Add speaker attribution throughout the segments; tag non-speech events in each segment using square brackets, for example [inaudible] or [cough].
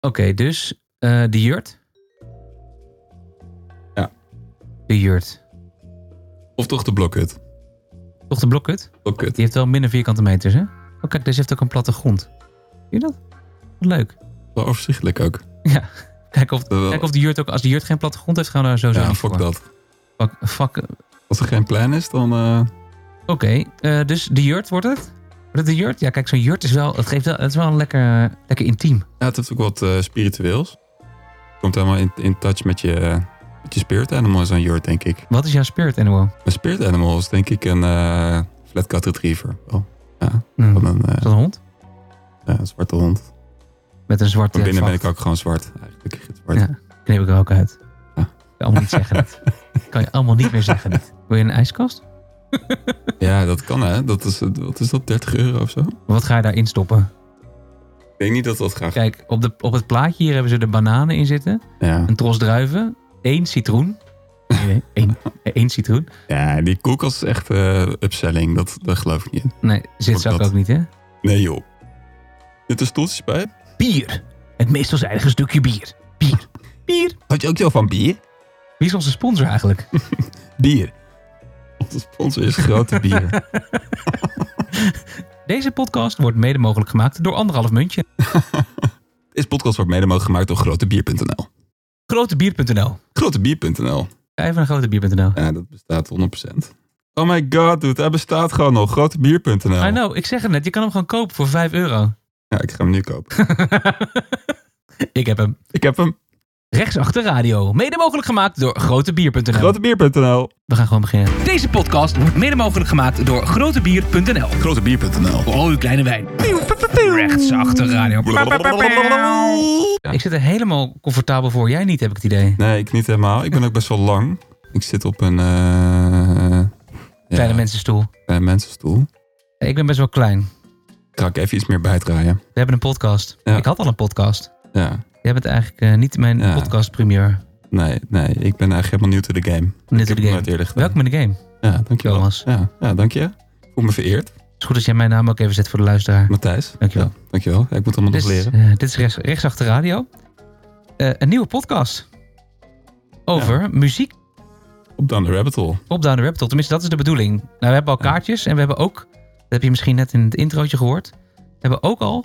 Speaker 1: Oké, dus eh, de jurt?
Speaker 2: Ja.
Speaker 1: De jurt.
Speaker 2: Of toch de blokhut?
Speaker 1: Toch de blokhut?
Speaker 2: Blokhut.
Speaker 1: Die heeft wel minder vierkante meters, hè? Oh, kijk, deze heeft ook een platte grond. Zie je dat? Wat leuk. [laughs]
Speaker 2: Wel overzichtelijk ook.
Speaker 1: Kijk of,
Speaker 2: Wel-
Speaker 1: kijk of de jurt ook... Als de jurt geen platte grond heeft, gaan we daar sowieso
Speaker 2: Ja,
Speaker 1: niet
Speaker 2: fuck
Speaker 1: voor.
Speaker 2: dat.
Speaker 1: Fuck, fuck. Oké,
Speaker 2: Als er geen plan is, dan... eh,
Speaker 1: eh, dus de jurt wordt het? Wordt het de jurt? Ja, kijk, zo'n jurt is wel... Het, geeft wel, het is wel een lekker, lekker intiem.
Speaker 2: ja, het heeft ook wat eh, spiritueels. Komt helemaal in, in touch met je, eh, met je spirit animal in zo'n jurt, denk ik.
Speaker 1: Wat is jouw spirit animal?
Speaker 2: Een spirit animal is denk ik een eh, flat cut retriever. Oh,
Speaker 1: Hm,
Speaker 2: van een eh,
Speaker 1: Is dat een hond?
Speaker 2: ja, een zwarte hond.
Speaker 1: Met een zwarte
Speaker 2: Van binnen ben
Speaker 1: vacht.
Speaker 2: ik ook gewoon zwart. Eigenlijk gitzwart.
Speaker 1: Ja. Knip ik er ook uit.
Speaker 2: Ja.
Speaker 1: Kan je allemaal niet zeggen dit. Kan je allemaal niet meer zeggen dit. Wil je een ijskast?
Speaker 2: Ja, dat kan hè. Dat is, eh, wat is dat, 30 euro of zo?
Speaker 1: Wat ga je daarin stoppen?
Speaker 2: Ik denk niet dat dat graag...
Speaker 1: Kijk, op, de, op het plaatje hier hebben ze de bananen in zitten.
Speaker 2: Ja.
Speaker 1: Een tros druiven. één citroen. Nee, nee, één, [laughs] één citroen.
Speaker 2: ja, die koelkast is echt eh, upselling. Dat, dat geloof ik niet. in.
Speaker 1: Nee, zit
Speaker 2: Ook
Speaker 1: zak
Speaker 2: dat.
Speaker 1: ook niet, hè?
Speaker 2: Nee joh. Zit er stoeltjes bij?
Speaker 1: Bier. Het meest veelzijdige stukje bier. Bier. Bier.
Speaker 2: Had je ook zo van bier?
Speaker 1: Wie is onze sponsor eigenlijk?
Speaker 2: Bier. Onze sponsor is [laughs] grote bier.
Speaker 1: Deze podcast wordt mede mogelijk gemaakt door anderhalf muntje.
Speaker 2: Deze podcast wordt mede mogelijk gemaakt door grotebier.nl.
Speaker 1: Grotebier.nl.
Speaker 2: Grotebier.nl.
Speaker 1: Ga even naar grotebier.nl.
Speaker 2: Ja, dat bestaat 100%. Oh my god, dude. Hij bestaat gewoon nog. Grotebier.nl.
Speaker 1: I know, ik zeg het net. Je kan hem gewoon kopen voor 5 euro. [laughs]
Speaker 2: Ja, ik ga hem nu kopen.
Speaker 1: ik heb hem.
Speaker 2: ik heb hem.
Speaker 1: Rechtsachter Radio, mede mogelijk gemaakt door grotebier.nl.
Speaker 2: Grotebier.nl.
Speaker 1: We gaan gewoon beginnen. Deze podcast wordt mede mogelijk gemaakt door grotebier.nl.
Speaker 2: Grotebier.nl.
Speaker 1: Voor al uw kleine wijn. Rechtsachter Radio. Ik zit er helemaal comfortabel voor. Jij niet, heb ik het idee.
Speaker 2: Nee, ik niet helemaal. Ik ben ook best wel lang. Ik zit op een... eh
Speaker 1: Kleine
Speaker 2: ja,
Speaker 1: mensenstoel.
Speaker 2: kleine mensenstoel.
Speaker 1: Ik ben best wel klein.
Speaker 2: Kan ik even iets meer bijdraaien?
Speaker 1: We hebben een podcast.
Speaker 2: Ja.
Speaker 1: Ik had al een podcast.
Speaker 2: Ja.
Speaker 1: Jij bent eigenlijk eh, niet mijn
Speaker 2: Ja.
Speaker 1: podcast premier.
Speaker 2: Nee, nee. Ik ben eigenlijk helemaal nieuw to the game.
Speaker 1: Net
Speaker 2: ik
Speaker 1: de
Speaker 2: heb het
Speaker 1: game.
Speaker 2: nooit eerder gedaan.
Speaker 1: Welkom in de game.
Speaker 2: Ja, dankjewel.
Speaker 1: Thomas.
Speaker 2: Ja, ja, dank je. Ik voel me vereerd.
Speaker 1: Het is goed dat jij mijn naam ook even zet voor de luisteraar.
Speaker 2: Matthijs.
Speaker 1: Dankjewel.
Speaker 2: Ja, dankjewel. Ja, ik moet allemaal
Speaker 1: Dit
Speaker 2: nog
Speaker 1: is,
Speaker 2: leren.
Speaker 1: eh, dit is rechts, Rechtsachter Radio. Eh, een nieuwe podcast. Over muziek
Speaker 2: Op Down the Rabbit Hole.
Speaker 1: op Down the Rabbit Hole. Tenminste, dat is de bedoeling. Nou, we hebben al
Speaker 2: Ja.
Speaker 1: kaartjes en we hebben ook, dat heb je misschien net in het introotje gehoord, we hebben ook al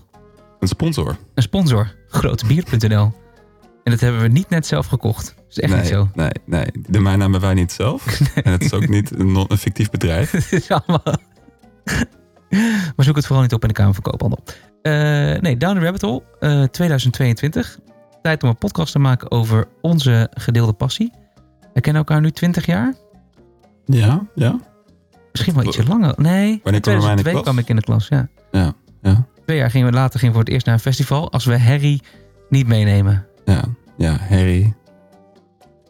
Speaker 2: Een sponsor.
Speaker 1: een sponsor, grotebier.nl. En dat hebben we niet net zelf gekocht. Dat is echt
Speaker 2: nee,
Speaker 1: niet zo. [laughs]
Speaker 2: Nee, nee. De domeinnaam hebben wij niet zelf. En het is ook niet een, non- een fictief bedrijf.
Speaker 1: Het is allemaal... [laughs] maar zoek het vooral niet op in de Kamer van Koophandel. Eh, nee, Down the Rabbit Hole eh, 2022. Tijd om een podcast te maken over onze gedeelde passie. We kennen elkaar nu 20 jaar.
Speaker 2: Ja, ja.
Speaker 1: Misschien wel ietsje langer. Nee,
Speaker 2: Wanneer kwam jij in de
Speaker 1: 2002
Speaker 2: klas?
Speaker 1: kwam ik in de klas, ja.
Speaker 2: Ja, ja.
Speaker 1: Twee jaar gingen we later gingen we voor het eerst naar een festival. Als we Harry niet meenemen.
Speaker 2: Ja, ja. Harry.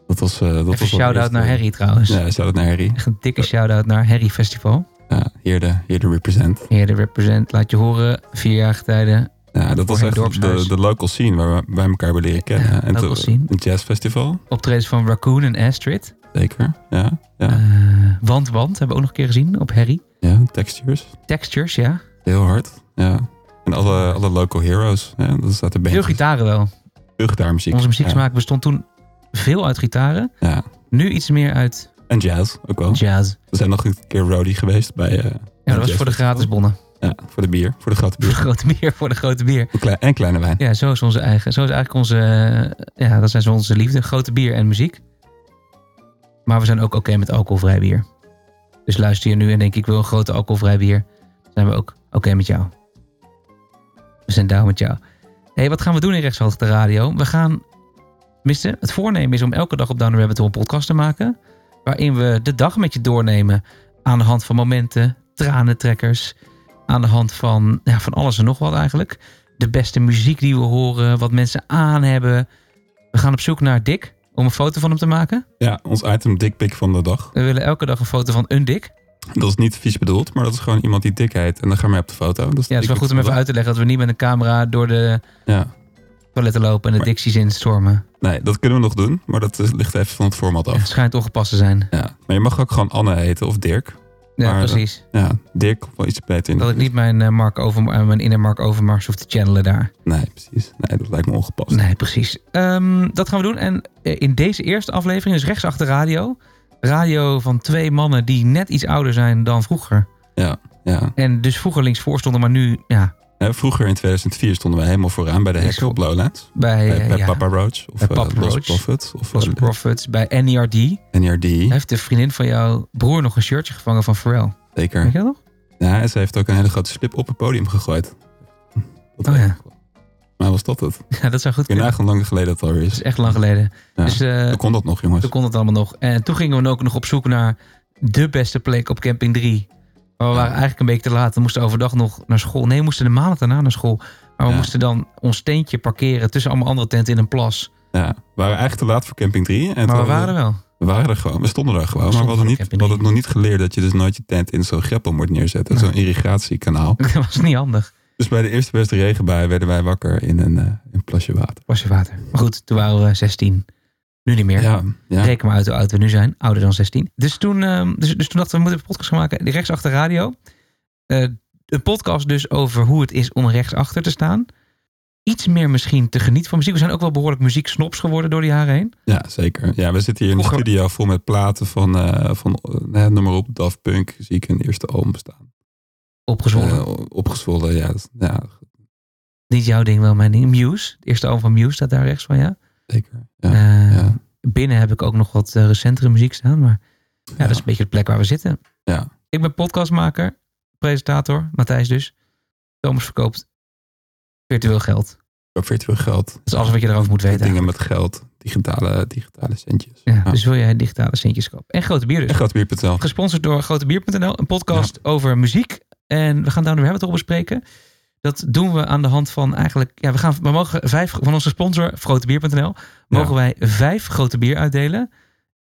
Speaker 2: Dat was... eh dat was
Speaker 1: Even
Speaker 2: wel
Speaker 1: shout-out
Speaker 2: eerst,
Speaker 1: naar
Speaker 2: eh,
Speaker 1: Harry trouwens.
Speaker 2: Ja, shout-out naar Harry.
Speaker 1: Echt een dikke shout-out naar Harry Festival.
Speaker 2: Ja, hier de, hier de represent.
Speaker 1: Heer de represent, laat je horen. Vier jaar tijden.
Speaker 2: Ja, dat was
Speaker 1: Voor
Speaker 2: echt
Speaker 1: Harry
Speaker 2: de,
Speaker 1: Dorpshuis.
Speaker 2: de local scene waar we- wij elkaar hebben leren kennen.
Speaker 1: Ja,
Speaker 2: en
Speaker 1: local
Speaker 2: toen-
Speaker 1: scene.
Speaker 2: Een jazzfestival,
Speaker 1: Optredens van Raccoon en Astrid.
Speaker 2: zeker. Ja, ja.
Speaker 1: Eh, want, want, hebben we ook nog een keer gezien op Harry.
Speaker 2: ja textures.
Speaker 1: Textures, ja.
Speaker 2: Heel hard, ja. En alle, alle local heroes. Ja, dat staat
Speaker 1: Veel
Speaker 2: er bandjes.
Speaker 1: gitaren wel.
Speaker 2: Veel gitaarmuziek.
Speaker 1: Onze muzieksmaak
Speaker 2: ja.
Speaker 1: bestond toen veel uit gitaren.
Speaker 2: ja. Oh.
Speaker 1: Nu iets meer uit
Speaker 2: En jazz ook wel.
Speaker 1: jazz.
Speaker 2: We zijn nog een keer roadie geweest bij... eh,
Speaker 1: Ja,
Speaker 2: een
Speaker 1: dat was voor de
Speaker 2: jazzfestival.
Speaker 1: gratis bonnen. [laughs]
Speaker 2: Ja, voor de bier. Voor de grote
Speaker 1: Voor de
Speaker 2: bier.
Speaker 1: [laughs] grote bier, voor de grote bier.
Speaker 2: En klei- en kleine wijn.
Speaker 1: Ja, zo is onze eigen. Zo is eigenlijk onze. eh, Ja, dat zijn zo onze liefde. Grote bier en muziek. Maar we zijn ook oké met alcoholvrij bier. Dus luister je nu en denk ik wil een grote alcoholvrij bier. Zijn we ook oké met jou. We zijn down met jou. hey, wat gaan we doen in Rechtshaltig de Radio? We gaan. Tenminste, het voornemen is om elke dag op Down the Rabbit Hole een podcast te maken. Waarin we de dag met je doornemen. Aan de hand van momenten, tranentrekkers. Aan de hand van, ja, van alles en nog wat eigenlijk de beste muziek die we horen, wat mensen aan hebben. We gaan op zoek naar Dick om een foto van hem te maken.
Speaker 2: Ja, ons item dikpik van de dag.
Speaker 1: We willen elke dag een foto van een Dick.
Speaker 2: Dat is niet vies bedoeld, maar dat is gewoon iemand die dik heet. En dan gaan we op de foto. Dat is de
Speaker 1: Ja, het is wel
Speaker 2: dikpik
Speaker 1: goed om
Speaker 2: van
Speaker 1: even
Speaker 2: de
Speaker 1: uit te leggen dat we niet met een camera door de
Speaker 2: dag. Ja.
Speaker 1: toiletten lopen en de
Speaker 2: Maar-
Speaker 1: dicties instormen.
Speaker 2: Nee, dat kunnen we nog doen, maar dat eh, ligt even van het format
Speaker 1: Ja,
Speaker 2: af.
Speaker 1: het schijnt ongepast te zijn.
Speaker 2: Ja. Maar je mag ook gewoon Anne heten of Dirk.
Speaker 1: Ja,
Speaker 2: Maar, eh,
Speaker 1: precies.
Speaker 2: Ja, Dirk komt wel iets beter in. de
Speaker 1: Dat ik
Speaker 2: buurt.
Speaker 1: niet mijn, eh, Mark over, eh, mijn inner Mark Overmars hoef te channelen daar.
Speaker 2: Nee, precies. Nee, dat lijkt me ongepast.
Speaker 1: Nee, precies. Ehm, dat gaan we doen. En eh, in deze eerste aflevering, dus rechts achter radio. Radio van twee mannen die net iets ouder zijn dan vroeger.
Speaker 2: Ja.
Speaker 1: En dus vroeger linksvoor stonden, maar nu ja,
Speaker 2: Hè, Vroeger in 2004 stonden we helemaal vooraan bij de
Speaker 1: Links
Speaker 2: hekken op Lowlands.
Speaker 1: bij,
Speaker 2: Bij,
Speaker 1: eh,
Speaker 2: bij
Speaker 1: ja,
Speaker 2: Papa Roach of
Speaker 1: Bij
Speaker 2: eh,
Speaker 1: Papa
Speaker 2: Lost
Speaker 1: Roach.
Speaker 2: Profit of
Speaker 1: Lost
Speaker 2: eh,
Speaker 1: Profits, bij NERD.
Speaker 2: NRD.
Speaker 1: Heeft de vriendin van jouw broer nog een shirtje gevangen van Pharrell?
Speaker 2: Zeker.
Speaker 1: Weet je dat nog?
Speaker 2: Ja, en ze heeft ook een hele grote slip op het podium gegooid. Dat
Speaker 1: Oh
Speaker 2: weet
Speaker 1: ja.
Speaker 2: ik wel. Maar was dat het? Ik
Speaker 1: Ja, dat zou goed
Speaker 2: kun je
Speaker 1: kunnen.
Speaker 2: nagaan hoe lang geleden dat alweer
Speaker 1: Dat
Speaker 2: is.
Speaker 1: is echt lang geleden.
Speaker 2: Ja.
Speaker 1: Dus eh,
Speaker 2: Hoe kon dat nog, jongens?
Speaker 1: toen kon het allemaal nog. En toen gingen we ook nog op zoek naar de beste plek op camping 3. Maar we
Speaker 2: Ja.
Speaker 1: waren eigenlijk een beetje te laat. We moesten overdag nog naar school. Nee, we moesten de maandag daarna naar school. Maar we
Speaker 2: Ja.
Speaker 1: moesten dan ons tentje parkeren tussen allemaal andere tenten in een plas.
Speaker 2: Ja, we waren eigenlijk te laat voor Camping 3. En
Speaker 1: Maar we
Speaker 2: toen-
Speaker 1: waren er wel. [laughs]
Speaker 2: we waren er gewoon. We stonden er gewoon. Maar we
Speaker 1: stonden
Speaker 2: hadden,
Speaker 1: voor
Speaker 2: niet, we
Speaker 1: Camping
Speaker 2: hadden het nog niet geleerd dat je dus nooit je tent in zo'n greppel moet neerzetten.
Speaker 1: Nee.
Speaker 2: Zo'n irrigatiekanaal.
Speaker 1: Dat was niet handig.
Speaker 2: Dus bij de eerste beste regenbui werden wij wakker in een, eh, een plasje water.
Speaker 1: Was je water. Maar goed, toen waren we 16. Nu niet meer.
Speaker 2: Ja, ja.
Speaker 1: Reken maar uit hoe oud we nu zijn. Ouder dan 16. Dus toen, ehm, dus, dus toen dachten we, we moeten een podcast gaan maken. Die Rechtsachter Radio. Eh, een podcast dus over hoe het is om rechtsachter te staan. Iets meer misschien te genieten van muziek. We zijn ook wel behoorlijk muzieksnops geworden door die jaren heen.
Speaker 2: ja, zeker. Ja, we zitten hier in de
Speaker 1: Vroeger-
Speaker 2: studio vol met platen van, eh, van eh, noem maar op, Daft Punk. Zie ik in de eerste album staan.
Speaker 1: Opgezwollen.
Speaker 2: Eh, opgezwollen, ja. dat- ja,
Speaker 1: Niet jouw ding, wel mijn ding. Muse. Het eerste album van Muse staat daar rechts van, ja.
Speaker 2: zeker. Ja.
Speaker 1: Eh,
Speaker 2: ja.
Speaker 1: Binnen heb ik ook nog wat eh, recentere muziek staan. Maar ja, dat is een beetje de plek waar we zitten.
Speaker 2: Ja.
Speaker 1: Ik ben podcastmaker, presentator, Matthijs dus. Thomas verkoopt virtueel geld.
Speaker 2: Ook virtueel geld.
Speaker 1: Dat is alles wat je erover moet weten.
Speaker 2: Dingen met geld. Digitale, digitale centjes.
Speaker 1: Ja,
Speaker 2: Ja.
Speaker 1: Dus wil jij digitale centjes kopen. En Grote Bier
Speaker 2: En
Speaker 1: dus.
Speaker 2: grootbier.nl.
Speaker 1: Gesponsord door grotebier.nl. Een podcast over muziek. En we gaan daar nu hebben het over bespreken. Dat doen we aan de hand van eigenlijk... Ja, we, gaan, we mogen vijf van onze sponsor, grotebier.nl... mogen
Speaker 2: Ja.
Speaker 1: wij vijf Grote Bier uitdelen.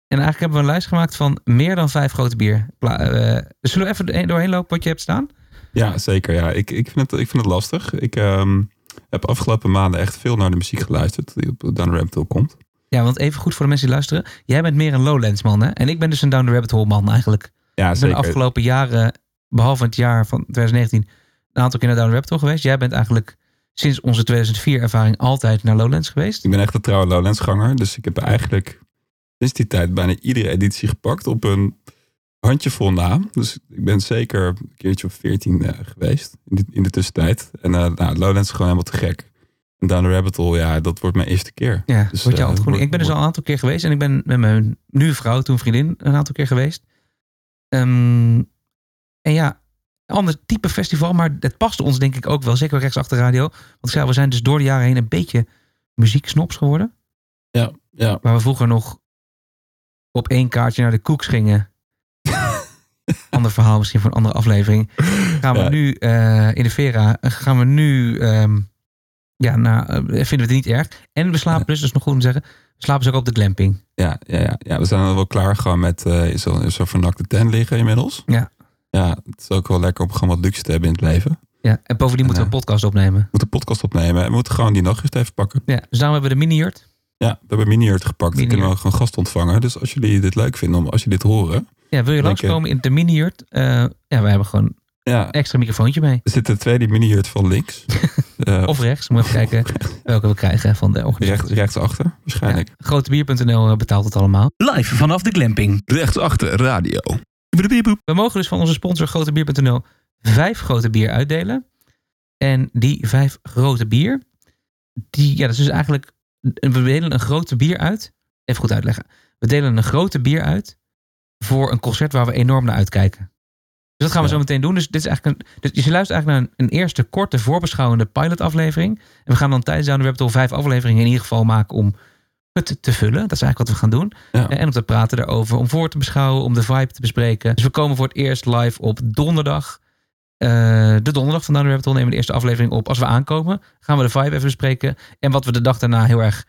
Speaker 1: En eigenlijk hebben we een lijst gemaakt van meer dan vijf Grote Bier. Pla- eh, zullen we even doorheen- doorheen lopen wat je hebt staan?
Speaker 2: Ja, zeker. Ja. Ik, ik, vind het, ik vind het lastig. Ik ehm, heb afgelopen maanden echt veel naar de muziek geluisterd die op Dan Ramtel komt.
Speaker 1: Ja, want even goed voor de mensen die luisteren. Jij bent meer een Lowlands man, hè? En ik ben dus een Down the Rabbit Hole man eigenlijk.
Speaker 2: Ja,
Speaker 1: Ik ben de
Speaker 2: zeker.
Speaker 1: afgelopen jaren, behalve het jaar van 2019, een aantal keer naar Down the Rabbit Hole geweest. Jij bent eigenlijk sinds onze 2004 ervaring altijd naar Lowlands geweest.
Speaker 2: Ik ben echt een trouwe Lowlands-ganger. Dus ik heb eigenlijk sinds die tijd bijna iedere editie gepakt op een handjevol na. Dus ik ben zeker een keertje of veertien eh, geweest in de, in de tussentijd. En eh, nou, Lowlands is gewoon helemaal te gek. En Down the Rabbit Hole, ja, dat wordt mijn eerste keer.
Speaker 1: Ja,
Speaker 2: Dus,
Speaker 1: word je
Speaker 2: eh,
Speaker 1: altijd goed.
Speaker 2: word-
Speaker 1: Ik ben dus al een aantal keer geweest en ik ben met mijn nu vrouw, toen vriendin, een aantal keer geweest. Ehm, en ja, een ander type festival, maar dat past ons denk ik ook wel. Zeker rechts achter radio. Want ik zei, we zijn dus door de jaren heen een beetje muzieksnops geworden.
Speaker 2: Ja, ja.
Speaker 1: Waar we vroeger nog op één kaartje naar de koeks
Speaker 2: [laughs]
Speaker 1: gingen. ander verhaal misschien voor een andere aflevering. Gaan we
Speaker 2: Ja.
Speaker 1: nu eh, in de Vera, eh, gaan we nu, ehm, ja, nou, eh, vinden we het niet erg. En we slapen dus, dat is nog goed om te zeggen, we slapen dus ook op de glamping.
Speaker 2: Ja, ja, ja, ja, we zijn al wel klaar gewoon met eh, in zo'n in zo'n vernakte tent liggen inmiddels.
Speaker 1: Ja.
Speaker 2: Ja, het is ook wel lekker om gewoon wat luxe te hebben in het leven. We
Speaker 1: Ja, en bovendien moeten we een podcast opnemen.
Speaker 2: moeten een podcast opnemen en we moeten gewoon die nachtrust even pakken.
Speaker 1: Ja, dus daarom hebben we de mini-jurt.
Speaker 2: Ja, we hebben Miniërt gepakt. Dan
Speaker 1: Mini
Speaker 2: kunnen we ook gewoon gast ontvangen. Dus als jullie dit leuk vinden, om, als jullie dit horen.
Speaker 1: Ja, wil je
Speaker 2: Lekker.
Speaker 1: langskomen in de mini-jurt? Eh, ja, we hebben gewoon
Speaker 2: Ja,
Speaker 1: een extra microfoontje mee.
Speaker 2: er zit een tweede Miniërt van links. Eh,
Speaker 1: Of rechts, moet even [laughs] kijken welke we krijgen van de organisatie.
Speaker 2: [laughs] rechts, rechtsachter, waarschijnlijk.
Speaker 1: Grotebier.nl eh, betaalt het allemaal. Live vanaf de glamping.
Speaker 2: Rechtsachter, radio.
Speaker 1: We mogen dus van onze sponsor grotebier.nl vijf grote bier uitdelen. En die vijf grote bier, die, ja, dat is dus eigenlijk, we delen een grote bier uit. Even goed uitleggen. We delen een grote bier uit voor een concert waar we enorm naar uitkijken. Dus dat gaan we
Speaker 2: Ja.
Speaker 1: zo meteen doen. Dus dit is eigenlijk een, dus je luistert eigenlijk naar een, een eerste korte voorbeschouwende pilotaflevering. En we gaan dan tijdens Down the Rabbit Hole vijf afleveringen in ieder geval maken om het te vullen. Dat is eigenlijk wat we gaan doen.
Speaker 2: Ja.
Speaker 1: En om te praten daarover, om voor te beschouwen, om de vibe te bespreken. Dus we komen voor het eerst live op donderdag. Eh, de donderdag van Down the Rabbit Hole nemen we de eerste aflevering op. Als we aankomen, gaan we de vibe even bespreken. En wat we de dag daarna heel erg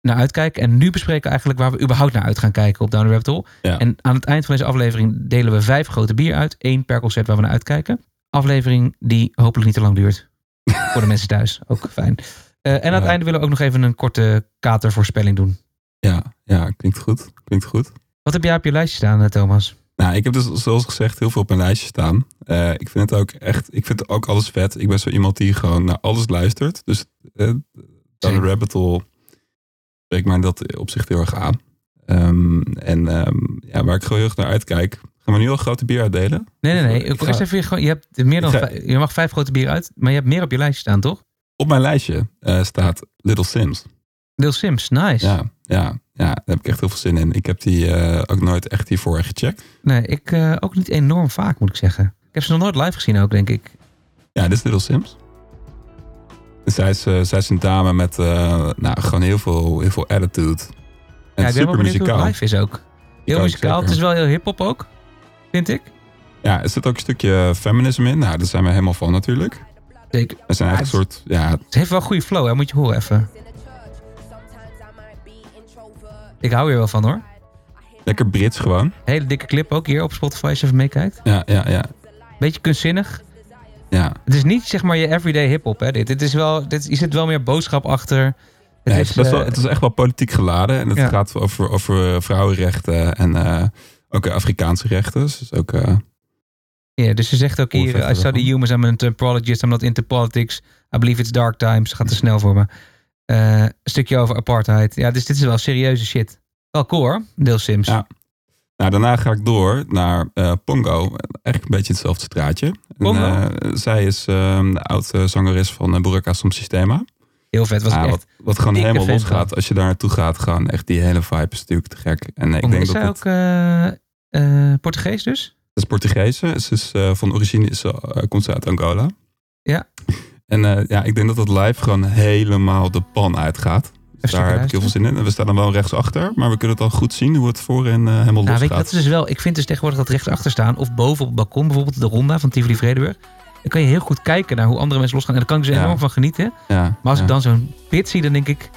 Speaker 1: naar uitkijken. En nu bespreken we eigenlijk waar we überhaupt naar uit gaan kijken op Down the Rabbit Hole.
Speaker 2: Ja.
Speaker 1: En aan het eind van deze aflevering delen we vijf grote bier uit. Eén per concert waar we naar uitkijken. Aflevering die hopelijk niet te lang
Speaker 2: [laughs]
Speaker 1: duurt. voor de mensen thuis, ook fijn. Eh, en aan het
Speaker 2: Ja.
Speaker 1: einde willen we ook nog even een korte katervoorspelling doen.
Speaker 2: Ja, ja, klinkt goed. Klinkt goed.
Speaker 1: Wat heb jij op je lijstje staan, eh, Thomas?
Speaker 2: Nou, ik heb dus zoals gezegd heel veel op mijn lijstje staan. Eh, ik vind het ook echt, ik vind ook alles vet. Ik ben zo iemand die gewoon naar alles luistert. Dus eh, Down the
Speaker 1: Zeker.
Speaker 2: Rabbit Hole spreekt mij in dat opzicht heel erg aan. Ehm, en ehm, ja, waar ik gewoon heel erg naar uitkijk. Gaan we nu al grote bier uitdelen?
Speaker 1: Nee, nee, nee.
Speaker 2: eh, Ik ga-
Speaker 1: Eerst even, gewoon- je, hebt meer dan
Speaker 2: Ik ga-
Speaker 1: vijf- je mag vijf grote bieren uit, maar je hebt meer op je lijstje staan, toch?
Speaker 2: Op mijn lijstje eh, staat Little Sims.
Speaker 1: Lil Sims, nice.
Speaker 2: Ja, ja, ja, daar heb ik echt heel veel zin in. Ik heb die eh, ook nooit echt hiervoor gecheckt.
Speaker 1: Nee, ik eh, ook niet enorm vaak, moet ik zeggen. Ik heb ze nog nooit live gezien ook, denk ik.
Speaker 2: Ja, dit is Little Sims. En Zij is, eh, zij is een dame met eh, nou, gewoon heel veel, heel veel attitude. En
Speaker 1: ja, ik ben wel
Speaker 2: super
Speaker 1: benieuwd hoe het
Speaker 2: muzikaal.
Speaker 1: live is ook. Heel
Speaker 2: ook,
Speaker 1: muzikaal.
Speaker 2: zeker.
Speaker 1: Het is wel heel hip-hop ook, vind ik.
Speaker 2: Ja, er zit ook een stukje feminisme in. Nou, daar zijn we helemaal van natuurlijk.
Speaker 1: Zeker.
Speaker 2: We zijn eigenlijk een soort, ja,
Speaker 1: Het heeft wel een goede flow, hè? moet je horen even. Ik hou hier wel van hoor.
Speaker 2: lekker Brits gewoon.
Speaker 1: Hele dikke clip ook hier op Spotify als je even meekijkt.
Speaker 2: Ja, ja, ja,
Speaker 1: Beetje kunstzinnig.
Speaker 2: ja.
Speaker 1: Het is niet zeg maar je everyday hip-hop. Hè? Dit, dit is wel, dit, hier zit wel meer boodschap achter. Het
Speaker 2: Ja, het, is best
Speaker 1: eh,
Speaker 2: wel, het is echt wel politiek geladen. En het
Speaker 1: Ja.
Speaker 2: gaat over, over vrouwenrechten en eh, ook eh, Afrikaanse rechten. Dus het is ook, eh,
Speaker 1: ja, dus ze zegt ook
Speaker 2: Hoe
Speaker 1: hier:
Speaker 2: zegt
Speaker 1: I
Speaker 2: ze dat
Speaker 1: study
Speaker 2: dan?
Speaker 1: humans, I'm an anthropologist, I'm not into politics. I believe it's dark times. Gaat te snel voor me. Eh, een stukje over apartheid. Ja, dus dit is wel serieuze shit. Wel cool hoor, Deel Sims.
Speaker 2: Ja. nou, daarna ga ik door naar eh, Pongo. Eigenlijk een beetje hetzelfde straatje. En,
Speaker 1: Pongo?
Speaker 2: eh, zij is eh, de oude zangeres van uh, Buraka Som Sistema.
Speaker 1: Heel vet. Was
Speaker 2: Ja,
Speaker 1: ik echt.
Speaker 2: wat, wat gewoon
Speaker 1: dikke
Speaker 2: helemaal
Speaker 1: fan
Speaker 2: losgaat. Als je daar naartoe gaat, gewoon echt die hele vibe is natuurlijk te gek. En ik
Speaker 1: Pongo.
Speaker 2: denk
Speaker 1: is
Speaker 2: dat
Speaker 1: zij
Speaker 2: het,
Speaker 1: ook eh, eh, Portugees dus?
Speaker 2: Dat is Portugese. Ze is, eh, van origine is, ze, eh, komt ze uit Angola.
Speaker 1: Ja.
Speaker 2: En eh, ja, ik denk dat dat live gewoon helemaal de pan uitgaat. Dus
Speaker 1: Even
Speaker 2: daar heb ik
Speaker 1: luisteren.
Speaker 2: heel veel zin in. En we staan dan wel rechtsachter, maar we kunnen het al goed zien hoe het voor en eh, helemaal
Speaker 1: Nou, weet je,
Speaker 2: losgaat.
Speaker 1: dat is dus wel. Ik vind dus tegenwoordig dat rechtsachter staan of boven op het balkon, bijvoorbeeld de ronda van Tivoli Vredenburg. Dan kan je heel goed kijken naar hoe andere mensen losgaan. En daar kan ik dus
Speaker 2: Ja.
Speaker 1: enorm van genieten.
Speaker 2: ja,
Speaker 1: Maar als
Speaker 2: ja,
Speaker 1: ik dan zo'n pit zie, dan denk ik,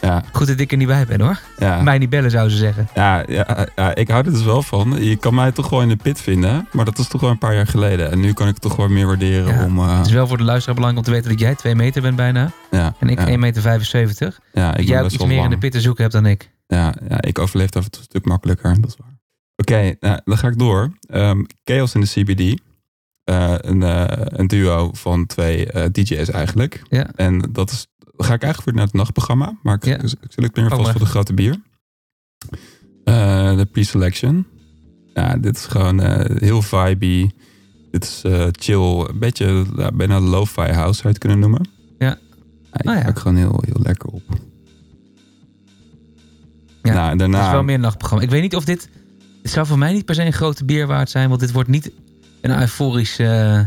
Speaker 2: Ja,
Speaker 1: goed dat ik er niet bij ben hoor.
Speaker 2: ja,
Speaker 1: Mij niet bellen, zouden ze zeggen.
Speaker 2: ja, ja, ja, ik hou er dus wel van. Je kan mij toch gewoon in de pit vinden, maar dat is toch wel een paar jaar geleden. En nu kan ik het toch wel meer waarderen
Speaker 1: Ja,
Speaker 2: om... eh,
Speaker 1: Het is wel voor de luisteraar belangrijk om te weten dat jij 2 meter bent bijna.
Speaker 2: ja,
Speaker 1: En ik
Speaker 2: ja,
Speaker 1: 1,75 meter. 75.
Speaker 2: ja, ik ben
Speaker 1: jij ook
Speaker 2: best
Speaker 1: iets
Speaker 2: wel
Speaker 1: meer in
Speaker 2: lang.
Speaker 1: de pit te zoeken hebt dan ik.
Speaker 2: Ja, ja, ik overleef daar een stuk makkelijker, dat is waar. Oké, nou, dan ga ik door. Ehm, Chaos in de CBD. Eh, een, eh, een duo van twee eh, DJ's eigenlijk.
Speaker 1: Ja.
Speaker 2: En dat is, dan ga ik eigenlijk weer naar het nachtprogramma, maar ik,
Speaker 1: Ja. Oh,
Speaker 2: ik, ik select meer
Speaker 1: Kom
Speaker 2: vast
Speaker 1: maar.
Speaker 2: voor de grote bier. Eh, de pre-selection. Ja, dit is gewoon eh, heel vibey. Dit is eh, chill, een beetje ja, bijna lo-fi house zou je het kunnen noemen.
Speaker 1: Ja.
Speaker 2: ik
Speaker 1: Nou ja.
Speaker 2: ga ik gewoon heel, heel lekker op.
Speaker 1: Ja,
Speaker 2: Nou, en
Speaker 1: Het
Speaker 2: daarna,
Speaker 1: is wel meer een nachtprogramma. Ik weet niet of dit... Het zou voor mij niet per se een grote bier waard zijn. Want dit wordt niet een euforisch... eh, [laughs]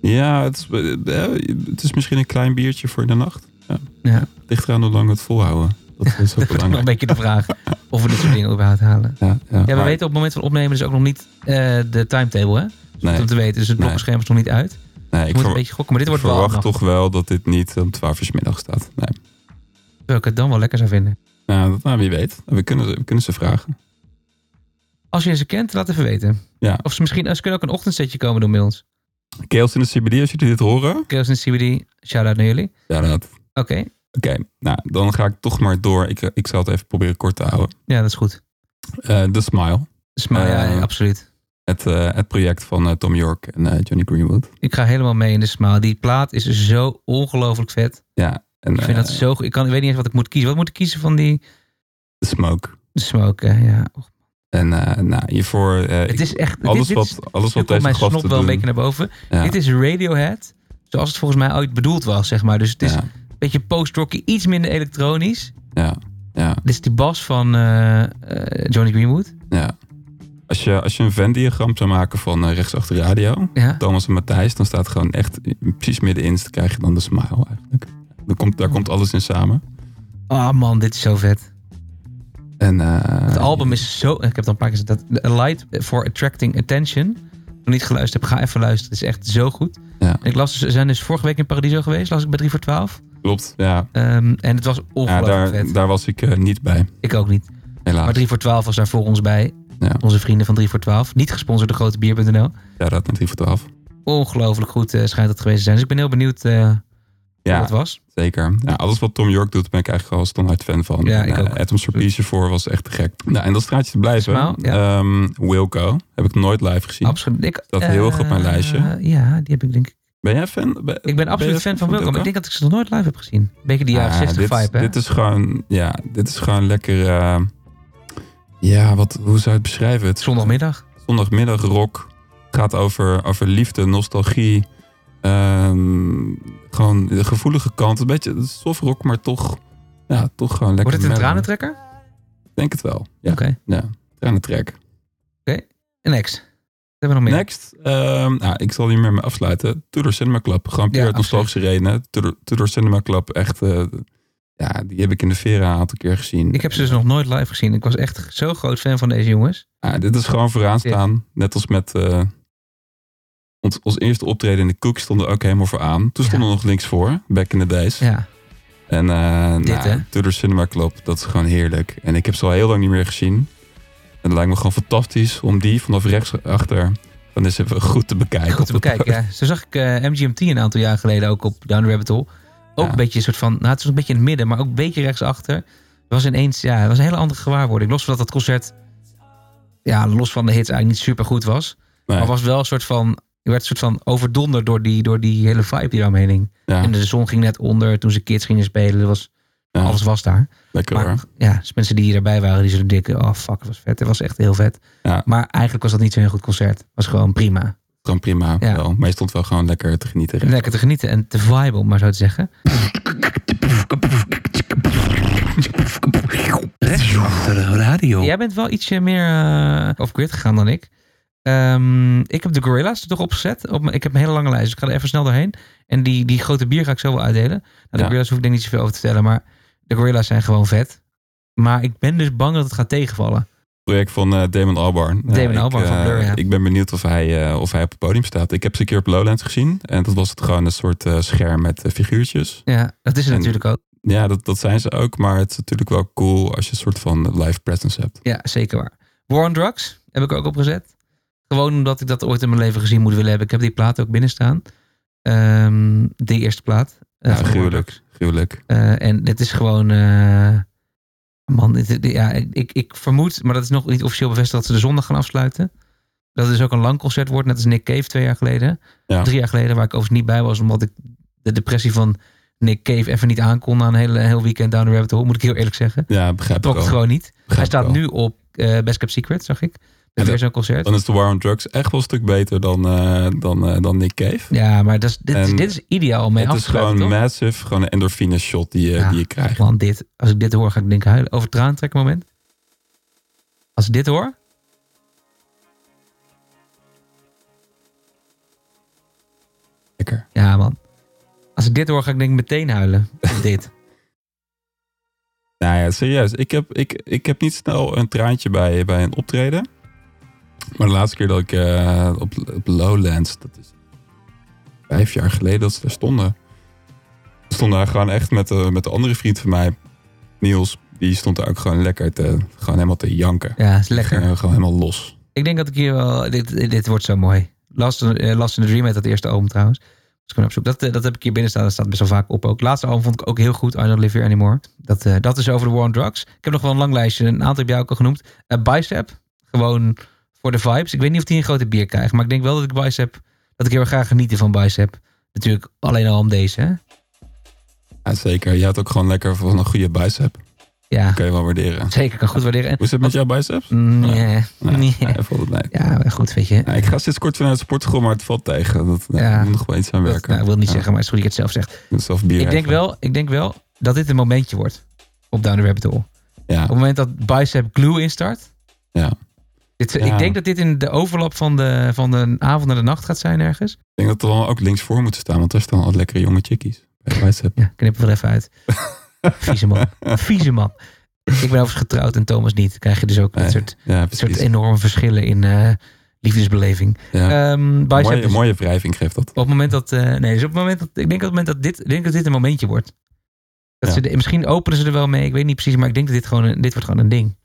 Speaker 2: Ja, het is, eh, het is misschien een klein biertje voor in de nacht. Ja.
Speaker 1: Ja.
Speaker 2: Ligt eraan hoe lang we het volhouden. Dat is ook
Speaker 1: [laughs] dat is nog een
Speaker 2: belangrijk.
Speaker 1: beetje de vraag of we dit soort dingen überhaupt halen.
Speaker 2: Ja, ja.
Speaker 1: Ja, we
Speaker 2: Maar-
Speaker 1: weten op het moment van opnemen dus ook nog niet eh, de timetable, hè?
Speaker 2: nee,
Speaker 1: Om te weten, dus het
Speaker 2: Nee.
Speaker 1: blokscherm is nog niet uit. Ik
Speaker 2: nee, ik
Speaker 1: moet
Speaker 2: ver-
Speaker 1: een beetje gokken, maar dit
Speaker 2: ik
Speaker 1: wordt wel
Speaker 2: verwacht
Speaker 1: nog.
Speaker 2: toch wel dat dit niet om 12 uur 's middag staat. Nee.
Speaker 1: Terwijl ik het dan wel lekker zou vinden.
Speaker 2: Nou, dat- nou, wie weet. We kunnen, ze- we kunnen ze vragen.
Speaker 1: Als je ze kent, laat even weten.
Speaker 2: Ja.
Speaker 1: Of ze misschien, ze kunnen ook een ochtendsetje komen doen bij ons.
Speaker 2: Chaos in de CBD, als jullie dit horen.
Speaker 1: Chaos in CBD, shout-out naar jullie.
Speaker 2: Ja, dat. Oké,
Speaker 1: Oké,
Speaker 2: nou, dan ga ik toch maar door. Ik, eh, ik zal het even proberen kort te houden.
Speaker 1: ja, dat is goed.
Speaker 2: Eh The Smile.
Speaker 1: Dus, maar ja,
Speaker 2: Eh.
Speaker 1: absoluut.
Speaker 2: Het, eh, het project van eh, Tom York en eh, Johnny Greenwood.
Speaker 1: Ik ga helemaal mee in de smaal. Die plaat is zo ongelooflijk vet.
Speaker 2: Ja, en
Speaker 1: Ik vind
Speaker 2: eh,
Speaker 1: dat zo goed. Ik, kan, ik weet niet eens wat ik moet kiezen. Wat moet ik kiezen van die
Speaker 2: The Smoke.
Speaker 1: smoke? hè? Ja. Och,
Speaker 2: En eh, nou, hiervoor... eh, ik-
Speaker 1: Het is echt...
Speaker 2: alles
Speaker 1: dit, dit, dit
Speaker 2: wat, alles wat
Speaker 1: komt
Speaker 2: deze
Speaker 1: mijn
Speaker 2: gasten
Speaker 1: snop wel een
Speaker 2: doen.
Speaker 1: beetje naar boven.
Speaker 2: Ja,
Speaker 1: Dit is Radiohead, zoals het volgens mij ooit bedoeld was, zeg maar. Dus het is
Speaker 2: ja,
Speaker 1: een beetje post-rocky, iets minder elektronisch.
Speaker 2: ja, ja,
Speaker 1: Dit is die bas van eh, eh, Johnny Greenwood.
Speaker 2: ja. Als je, als je een Venn-diagram zou maken van eh, rechtsachter radio,
Speaker 1: Ja.
Speaker 2: Thomas en Matthijs, dan staat gewoon echt precies middenin, dan krijg je dan de smile eigenlijk. Dan komt, daar komt alles in samen.
Speaker 1: Oh man, dit is zo vet.
Speaker 2: En, eh,
Speaker 1: Het album is zo... Ik heb het al een paar keer gezegd. dat- A Light for Attracting Attention. Als je niet geluisterd hebt, ga even luisteren. Het is echt zo goed.
Speaker 2: Ja.
Speaker 1: En ik las, ze zijn dus vorige week in Paradiso geweest. Las ik bij 3 voor 12.
Speaker 2: Klopt, ja.
Speaker 1: Ehm, en het was
Speaker 2: ja
Speaker 1: ongelooflijk
Speaker 2: daar,
Speaker 1: vet.
Speaker 2: daar was ik eh, niet bij,
Speaker 1: Ik ook niet.
Speaker 2: helaas.
Speaker 1: Maar 3 voor 12 was daar voor ons bij.
Speaker 2: Ja.
Speaker 1: Onze vrienden van 3 voor 12. Niet gesponsord door grotebier.nl.
Speaker 2: Ja, dat naar 3 voor 12.
Speaker 1: ongelooflijk goed eh, schijnt het geweest te zijn. Dus ik ben heel benieuwd eh, ja.
Speaker 2: Ja,
Speaker 1: dat was.
Speaker 2: zeker. Ja, alles wat Tom York doet, ben ik eigenlijk al standaard fan van.
Speaker 1: Ja, ik
Speaker 2: En, eh,
Speaker 1: ook.
Speaker 2: Atom Serpice voor was echt te gek. Nou, en dat straatje te blijven.
Speaker 1: Smaal,
Speaker 2: ehm, Wilco heb ik nooit live gezien.
Speaker 1: Absoluut. Ik,
Speaker 2: Staat heel erg op mijn
Speaker 1: eh,
Speaker 2: lijstje.
Speaker 1: Ja, die heb ik denk ik.
Speaker 2: Ben jij fan? Ben-
Speaker 1: Ik ben absoluut
Speaker 2: je
Speaker 1: fan van
Speaker 2: van
Speaker 1: Wilco, maar ik
Speaker 2: Wilco?
Speaker 1: denk dat ik ze nog nooit live heb gezien. Beetje die jaren
Speaker 2: Ah,
Speaker 1: 60
Speaker 2: dit,
Speaker 1: vibe, hè?
Speaker 2: Dit is gewoon, ja, dit is gewoon lekker. eh, ja, wat, hoe zou je het beschrijven? Het is
Speaker 1: Zondagmiddag.
Speaker 2: zondagmiddag rock. Het gaat over, over liefde, nostalgie. ehm, gewoon de gevoelige kant. Een beetje soft rock, maar toch, ja, toch gewoon lekker.
Speaker 1: Wordt het een
Speaker 2: mellow.
Speaker 1: tranentrekker?
Speaker 2: Ik Denk het wel. Ja,
Speaker 1: Oké.
Speaker 2: ja. tranentrek.
Speaker 1: En ex. Dat hebben we nog meer.
Speaker 2: Next. ehm, nou, ik zal hiermee mee afsluiten. Tudor Cinema Club. Gewoon puur
Speaker 1: Ja,
Speaker 2: uit nostalgische redenen. Tudor, Tudor Cinema Club, echt... eh, ja, die heb ik in de Vera een aantal keer gezien.
Speaker 1: Ik heb ze dus nog nooit live gezien. Ik was echt zo groot fan van deze jongens.
Speaker 2: Ja, Ah, dit is gewoon vooraan staan. Net als met eh, ons, ons eerste optreden in de Cook stonden ook helemaal vooraan. Toen stonden we nog links voor, back in the days.
Speaker 1: Ja.
Speaker 2: En eh
Speaker 1: Dit,
Speaker 2: nou,
Speaker 1: hè?
Speaker 2: Tudor Cinema Club, dat is gewoon heerlijk. En ik heb ze al heel lang niet meer gezien. En het lijkt me gewoon fantastisch om die vanaf rechts achter dan eens even goed te bekijken.
Speaker 1: Goed te
Speaker 2: op de
Speaker 1: bekijken. Ja. Zo zag ik eh, MGMT een aantal jaar geleden ook op Down the Rabbit Hole. Ook
Speaker 2: Ja.
Speaker 1: een beetje een soort van, nou het was een beetje in het midden, maar ook een beetje rechtsachter. Het was ineens, ja, het was een hele andere gewaarwording. Los van dat dat concert, ja, los van de hits eigenlijk niet super goed was.
Speaker 2: Nee,
Speaker 1: Maar was wel een soort van, je werd een soort van overdonderd door die, door die hele vibe die daaromheen hing.
Speaker 2: ja,
Speaker 1: En de zon ging net onder toen ze kids gingen spelen. Er was,
Speaker 2: ja,
Speaker 1: Alles was daar.
Speaker 2: lekker hoor.
Speaker 1: Maar ja, dus mensen die hierbij waren, die zullen denken, oh fuck, het was vet. Het was echt heel vet.
Speaker 2: Ja.
Speaker 1: Maar eigenlijk was dat niet zo'n heel goed concert. Het was gewoon prima.
Speaker 2: Gewoon prima.
Speaker 1: Ja.
Speaker 2: Wel. Maar je stond wel gewoon lekker te genieten.
Speaker 1: En lekker te genieten en te viben, om maar zo te zeggen.
Speaker 3: Rechtsachter radio.
Speaker 1: Jij bent wel ietsje meer eh, off-grid gegaan dan ik. Ehm, ik heb de Gorilla's er toch opgezet. Op mijn- ik heb een hele lange lijst, dus ik ga er even snel doorheen. En die, die grote bier ga ik zo wel uitdelen. Nou, de
Speaker 2: Ja.
Speaker 1: Gorilla's hoef ik denk niet zoveel over te vertellen, maar de Gorilla's zijn gewoon vet. Maar ik ben dus bang dat het gaat tegenvallen.
Speaker 2: project van eh, Damon Albarn. Ja,
Speaker 1: Damon
Speaker 2: ik,
Speaker 1: Albarn van
Speaker 2: eh,
Speaker 1: Blur, ja.
Speaker 2: Ik ben benieuwd of hij, eh, of hij op het podium staat. Ik heb ze een keer op Lowlands gezien. En dat was het gewoon een soort eh, scherm met eh, figuurtjes.
Speaker 1: Ja, dat is het
Speaker 2: En-
Speaker 1: natuurlijk ook.
Speaker 2: Ja, dat, dat zijn ze ook. Maar het is natuurlijk wel cool als je een soort van live presence hebt.
Speaker 1: Ja, zeker waar. War on Drugs heb ik er ook opgezet. Gewoon omdat ik dat ooit in mijn leven gezien moet willen hebben. Ik heb die plaat ook binnen staan. Ehm, de eerste plaat. eh,
Speaker 2: Ja,
Speaker 1: van War on Drugs.
Speaker 2: gruwelijk. Gruwelijk.
Speaker 1: Eh, en dit is gewoon. eh, man, dit- dit- ja, ik, ik vermoed, maar dat is nog niet officieel bevestigd, dat ze de zondag gaan afsluiten. Dat het dus ook een lang concert wordt, net als Nick Cave twee jaar geleden.
Speaker 2: Ja.
Speaker 1: Drie jaar geleden, waar ik overigens niet bij was, omdat ik de depressie van Nick Cave even niet aankon na een hele, een heel weekend down the rabbit hole, moet ik heel eerlijk zeggen.
Speaker 2: Ja, begrijp
Speaker 1: Trok
Speaker 2: ik
Speaker 1: het
Speaker 2: wel.
Speaker 1: gewoon niet. Hij
Speaker 2: Begrijp ik
Speaker 1: staat
Speaker 2: wel.
Speaker 1: nu op eh, Best Kept Secret, zag ik.
Speaker 2: dat-
Speaker 1: Met weer zo'n concert.
Speaker 2: Dan is de War on Drugs echt wel een stuk beter dan, eh, dan, eh, dan Nick Cave.
Speaker 1: Ja, maar dat is, dit, is,
Speaker 2: En
Speaker 1: dit is ideaal om mee
Speaker 2: het
Speaker 1: af te
Speaker 2: is gewoon
Speaker 1: sluiten, toch?
Speaker 2: massive. Gewoon een endorfine shot die, je-
Speaker 1: Ja.
Speaker 2: die je krijgt.
Speaker 1: Want dit, als ik dit hoor, ga ik denk ik huilen. Over traantrekken moment. Als ik dit hoor.
Speaker 2: Lekker.
Speaker 1: Ja, man. Als ik dit hoor, ga ik denk ik meteen huilen. Of dit.
Speaker 2: Nou ja, serieus. Ik heb, ik, ik heb niet snel een traantje bij, bij een optreden. Maar de laatste keer dat ik eh, op, op Lowlands, dat is vijf jaar geleden dat ze daar stonden. We stonden daar gewoon echt met, de met de andere vriend van mij, Niels. Die stond daar ook gewoon lekker te, gewoon helemaal te janken.
Speaker 1: Ja, is
Speaker 2: Lekker. eh,
Speaker 1: lekker.
Speaker 2: gewoon helemaal los.
Speaker 1: Ik denk dat ik hier wel... Dit, dit wordt zo mooi. Last, eh, Last in the Dream heet dat eerste album trouwens. Dus ik ben op zoek. Dat, eh, dat heb ik hier binnen staan. Dat staat best wel vaak op ook. Laatste album vond ik ook heel goed. I Don't Live Here Anymore. Dat, eh, dat is over de War on Drugs. Ik heb nog wel een lang lijstje. Een aantal heb jij ook al genoemd. Eh, Bicep. Gewoon voor de vibes. Ik weet niet of die een grote bier krijgt. Maar ik denk wel dat ik Bicep... Dat ik heel erg graag genieten van Bicep. Natuurlijk alleen al om deze. Hè?
Speaker 2: Ja, zeker. Je had ook gewoon lekker van een goede bicep.
Speaker 1: Ja,
Speaker 2: Kun je wel waarderen.
Speaker 1: zeker. Kan goed waarderen. En,
Speaker 2: Hoe is het met jouw biceps?
Speaker 1: Mm, yeah.
Speaker 2: Nee, nee,
Speaker 1: Yeah.
Speaker 2: valt het mee.
Speaker 1: Ja, maar goed, weet je.
Speaker 2: Ja, ik ga sinds kort vanuit de sportschool, maar het valt tegen. Dat, nee,
Speaker 1: Ja.
Speaker 2: ik moet nog wel iets aan
Speaker 1: Dat,
Speaker 2: werken.
Speaker 1: nou, ik wil niet
Speaker 2: Ja.
Speaker 1: zeggen, maar het is goed dat je het zelf zegt.
Speaker 2: Ik moet zelf bier
Speaker 1: Ik denk,
Speaker 2: even-
Speaker 1: wel, ik denk wel dat dit een momentje wordt op Down the Rabbit Hole.
Speaker 2: Ja.
Speaker 1: Op het moment dat Bicep Glue instart.
Speaker 2: Ja.
Speaker 1: Dit,
Speaker 2: Ja.
Speaker 1: Ik denk dat dit in de overlap van de, van de avond naar de nacht gaat zijn ergens.
Speaker 2: Ik denk dat er dan ook links voor moeten staan, want daar staan al lekkere jonge chickies. Bij
Speaker 1: [laughs]
Speaker 2: WhatsApp.
Speaker 1: Ja, knip er wel even
Speaker 2: [laughs]
Speaker 1: uit. Vieze man. Vieze man. Ik ben overigens getrouwd en Thomas niet. Dan krijg je dus ook
Speaker 2: Nee,
Speaker 1: een soort,
Speaker 2: Ja,
Speaker 1: een soort
Speaker 2: precies.
Speaker 1: enorme verschillen in eh, liefdesbeleving.
Speaker 2: Ja.
Speaker 1: Ehm, bicep
Speaker 2: mooie,
Speaker 1: is-
Speaker 2: mooie wrijving geeft dat.
Speaker 1: Op het moment dat. eh, nee, dus op het moment dat. Ik denk dat, op het moment dat dit, ik denk dat dit een momentje wordt. Dat
Speaker 2: Ja.
Speaker 1: ze de- misschien openen ze er wel mee, ik weet niet precies, maar ik denk dat dit gewoon een, dit wordt gewoon een ding.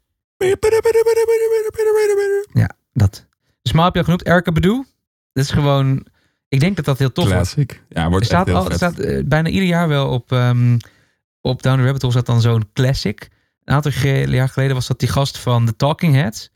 Speaker 1: Dat. Dus maar heb je al genoemd, Erika Bedoe. Dat is gewoon. Ik denk dat dat heel tof is.
Speaker 2: Classic. Ja, wordt
Speaker 1: Er staat,
Speaker 2: echt heel
Speaker 1: al, er
Speaker 2: vet.
Speaker 1: staat eh, bijna ieder jaar wel op, ehm, op Down the Rabbit Hole staat dan zo'n classic. Een aantal ge- jaar geleden was dat die gast van The Talking Heads,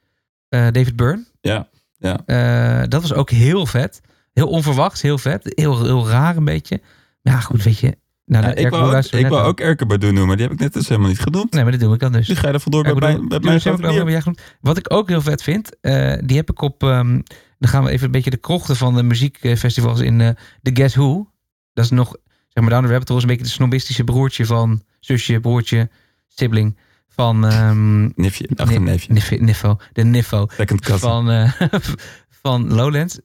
Speaker 1: eh, David Byrne.
Speaker 2: Ja, ja.
Speaker 1: Eh, dat was ook heel vet. Heel onverwacht, heel vet. Heel, heel raar een beetje. Maar ja, goed, weet je. Nou,
Speaker 2: Ja,
Speaker 1: de
Speaker 2: ik
Speaker 1: Erko
Speaker 2: wou ook,
Speaker 1: luisteren we
Speaker 2: ik
Speaker 1: net
Speaker 2: wou
Speaker 1: al.
Speaker 2: ook Erke Badu noemen, die heb ik net dus helemaal niet genoemd.
Speaker 1: Nee, maar dat doe ik dan dus.
Speaker 2: Die ga je er vandoor bij,
Speaker 1: Ja, ik
Speaker 2: bij,
Speaker 1: bedoel,
Speaker 2: bij
Speaker 1: Jonas
Speaker 2: mijn
Speaker 1: Hemmel,
Speaker 2: grote bier.
Speaker 1: Robert Jageroen. oh, Wat ik ook heel vet vind, eh, die heb ik op. ehm, dan gaan we even een beetje de krochten van de muziekfestivals in eh, de Guess Who. Dat is nog, zeg maar, Down the Rabbit Hole is een beetje de snobistische broertje van zusje, broertje, sibling van ehm
Speaker 2: Nifje, ach, een
Speaker 1: Nif-
Speaker 2: neefje.
Speaker 1: Nif- Niffo, de Niffo
Speaker 2: Second cousin.
Speaker 1: van, eh, [laughs] van Lowlands.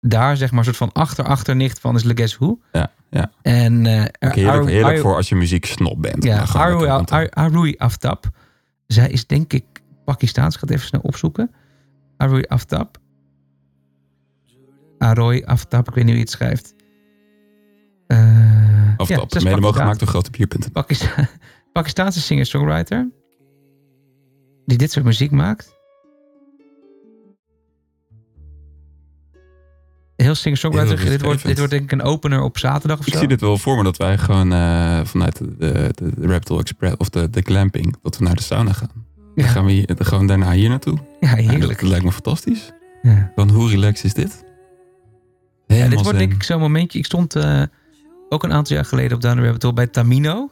Speaker 1: Daar zeg maar een soort van achter achternicht van is Le Guess Who.
Speaker 2: Ja, ja.
Speaker 1: En eh,
Speaker 2: Ook Heerlijk,
Speaker 1: Arrow-
Speaker 2: heerlijk
Speaker 1: Arrow-
Speaker 2: voor als je muzieksnob bent.
Speaker 1: ja,
Speaker 2: Dan gaan we
Speaker 1: Arui,
Speaker 2: lekker aan toe.
Speaker 1: Ar- Arui Aftab. Zij is denk ik Pakistaans. Ik ga het even snel opzoeken. Arui Aftab. Aroi Aftab. Ik weet niet hoe je het schrijft. Eh,
Speaker 2: Of
Speaker 1: ja,
Speaker 2: dat.
Speaker 1: ze is
Speaker 2: Mede mogelijk
Speaker 1: Pakistaans.
Speaker 2: gemaakt door grotebier.nl.
Speaker 1: Pakista- [laughs] Pakistaanse singer-songwriter. Die dit soort muziek maakt. Heel singer-songwriter.
Speaker 2: Heel
Speaker 1: Dit wordt, dit
Speaker 2: rustgevend.
Speaker 1: wordt denk ik een opener op zaterdag of
Speaker 2: Ik
Speaker 1: zo.
Speaker 2: zie dit wel voor me dat wij gewoon eh, vanuit de, de, de, de Reptile Express of de, de glamping, dat we naar de sauna gaan. Dan
Speaker 1: Ja.
Speaker 2: gaan we hier, dan gaan we daarna hier naartoe.
Speaker 1: ja,
Speaker 2: Ja,
Speaker 1: heerlijk.
Speaker 2: dat lijkt me fantastisch.
Speaker 1: Ja.
Speaker 2: Dan hoe relaxed is dit?
Speaker 1: Ja,
Speaker 2: Helemaal
Speaker 1: dit wordt
Speaker 2: zen.
Speaker 1: denk ik zo'n momentje. Ik stond eh, ook een aantal jaar geleden op Down the Rabbit Hole bij Tamino.
Speaker 2: Oh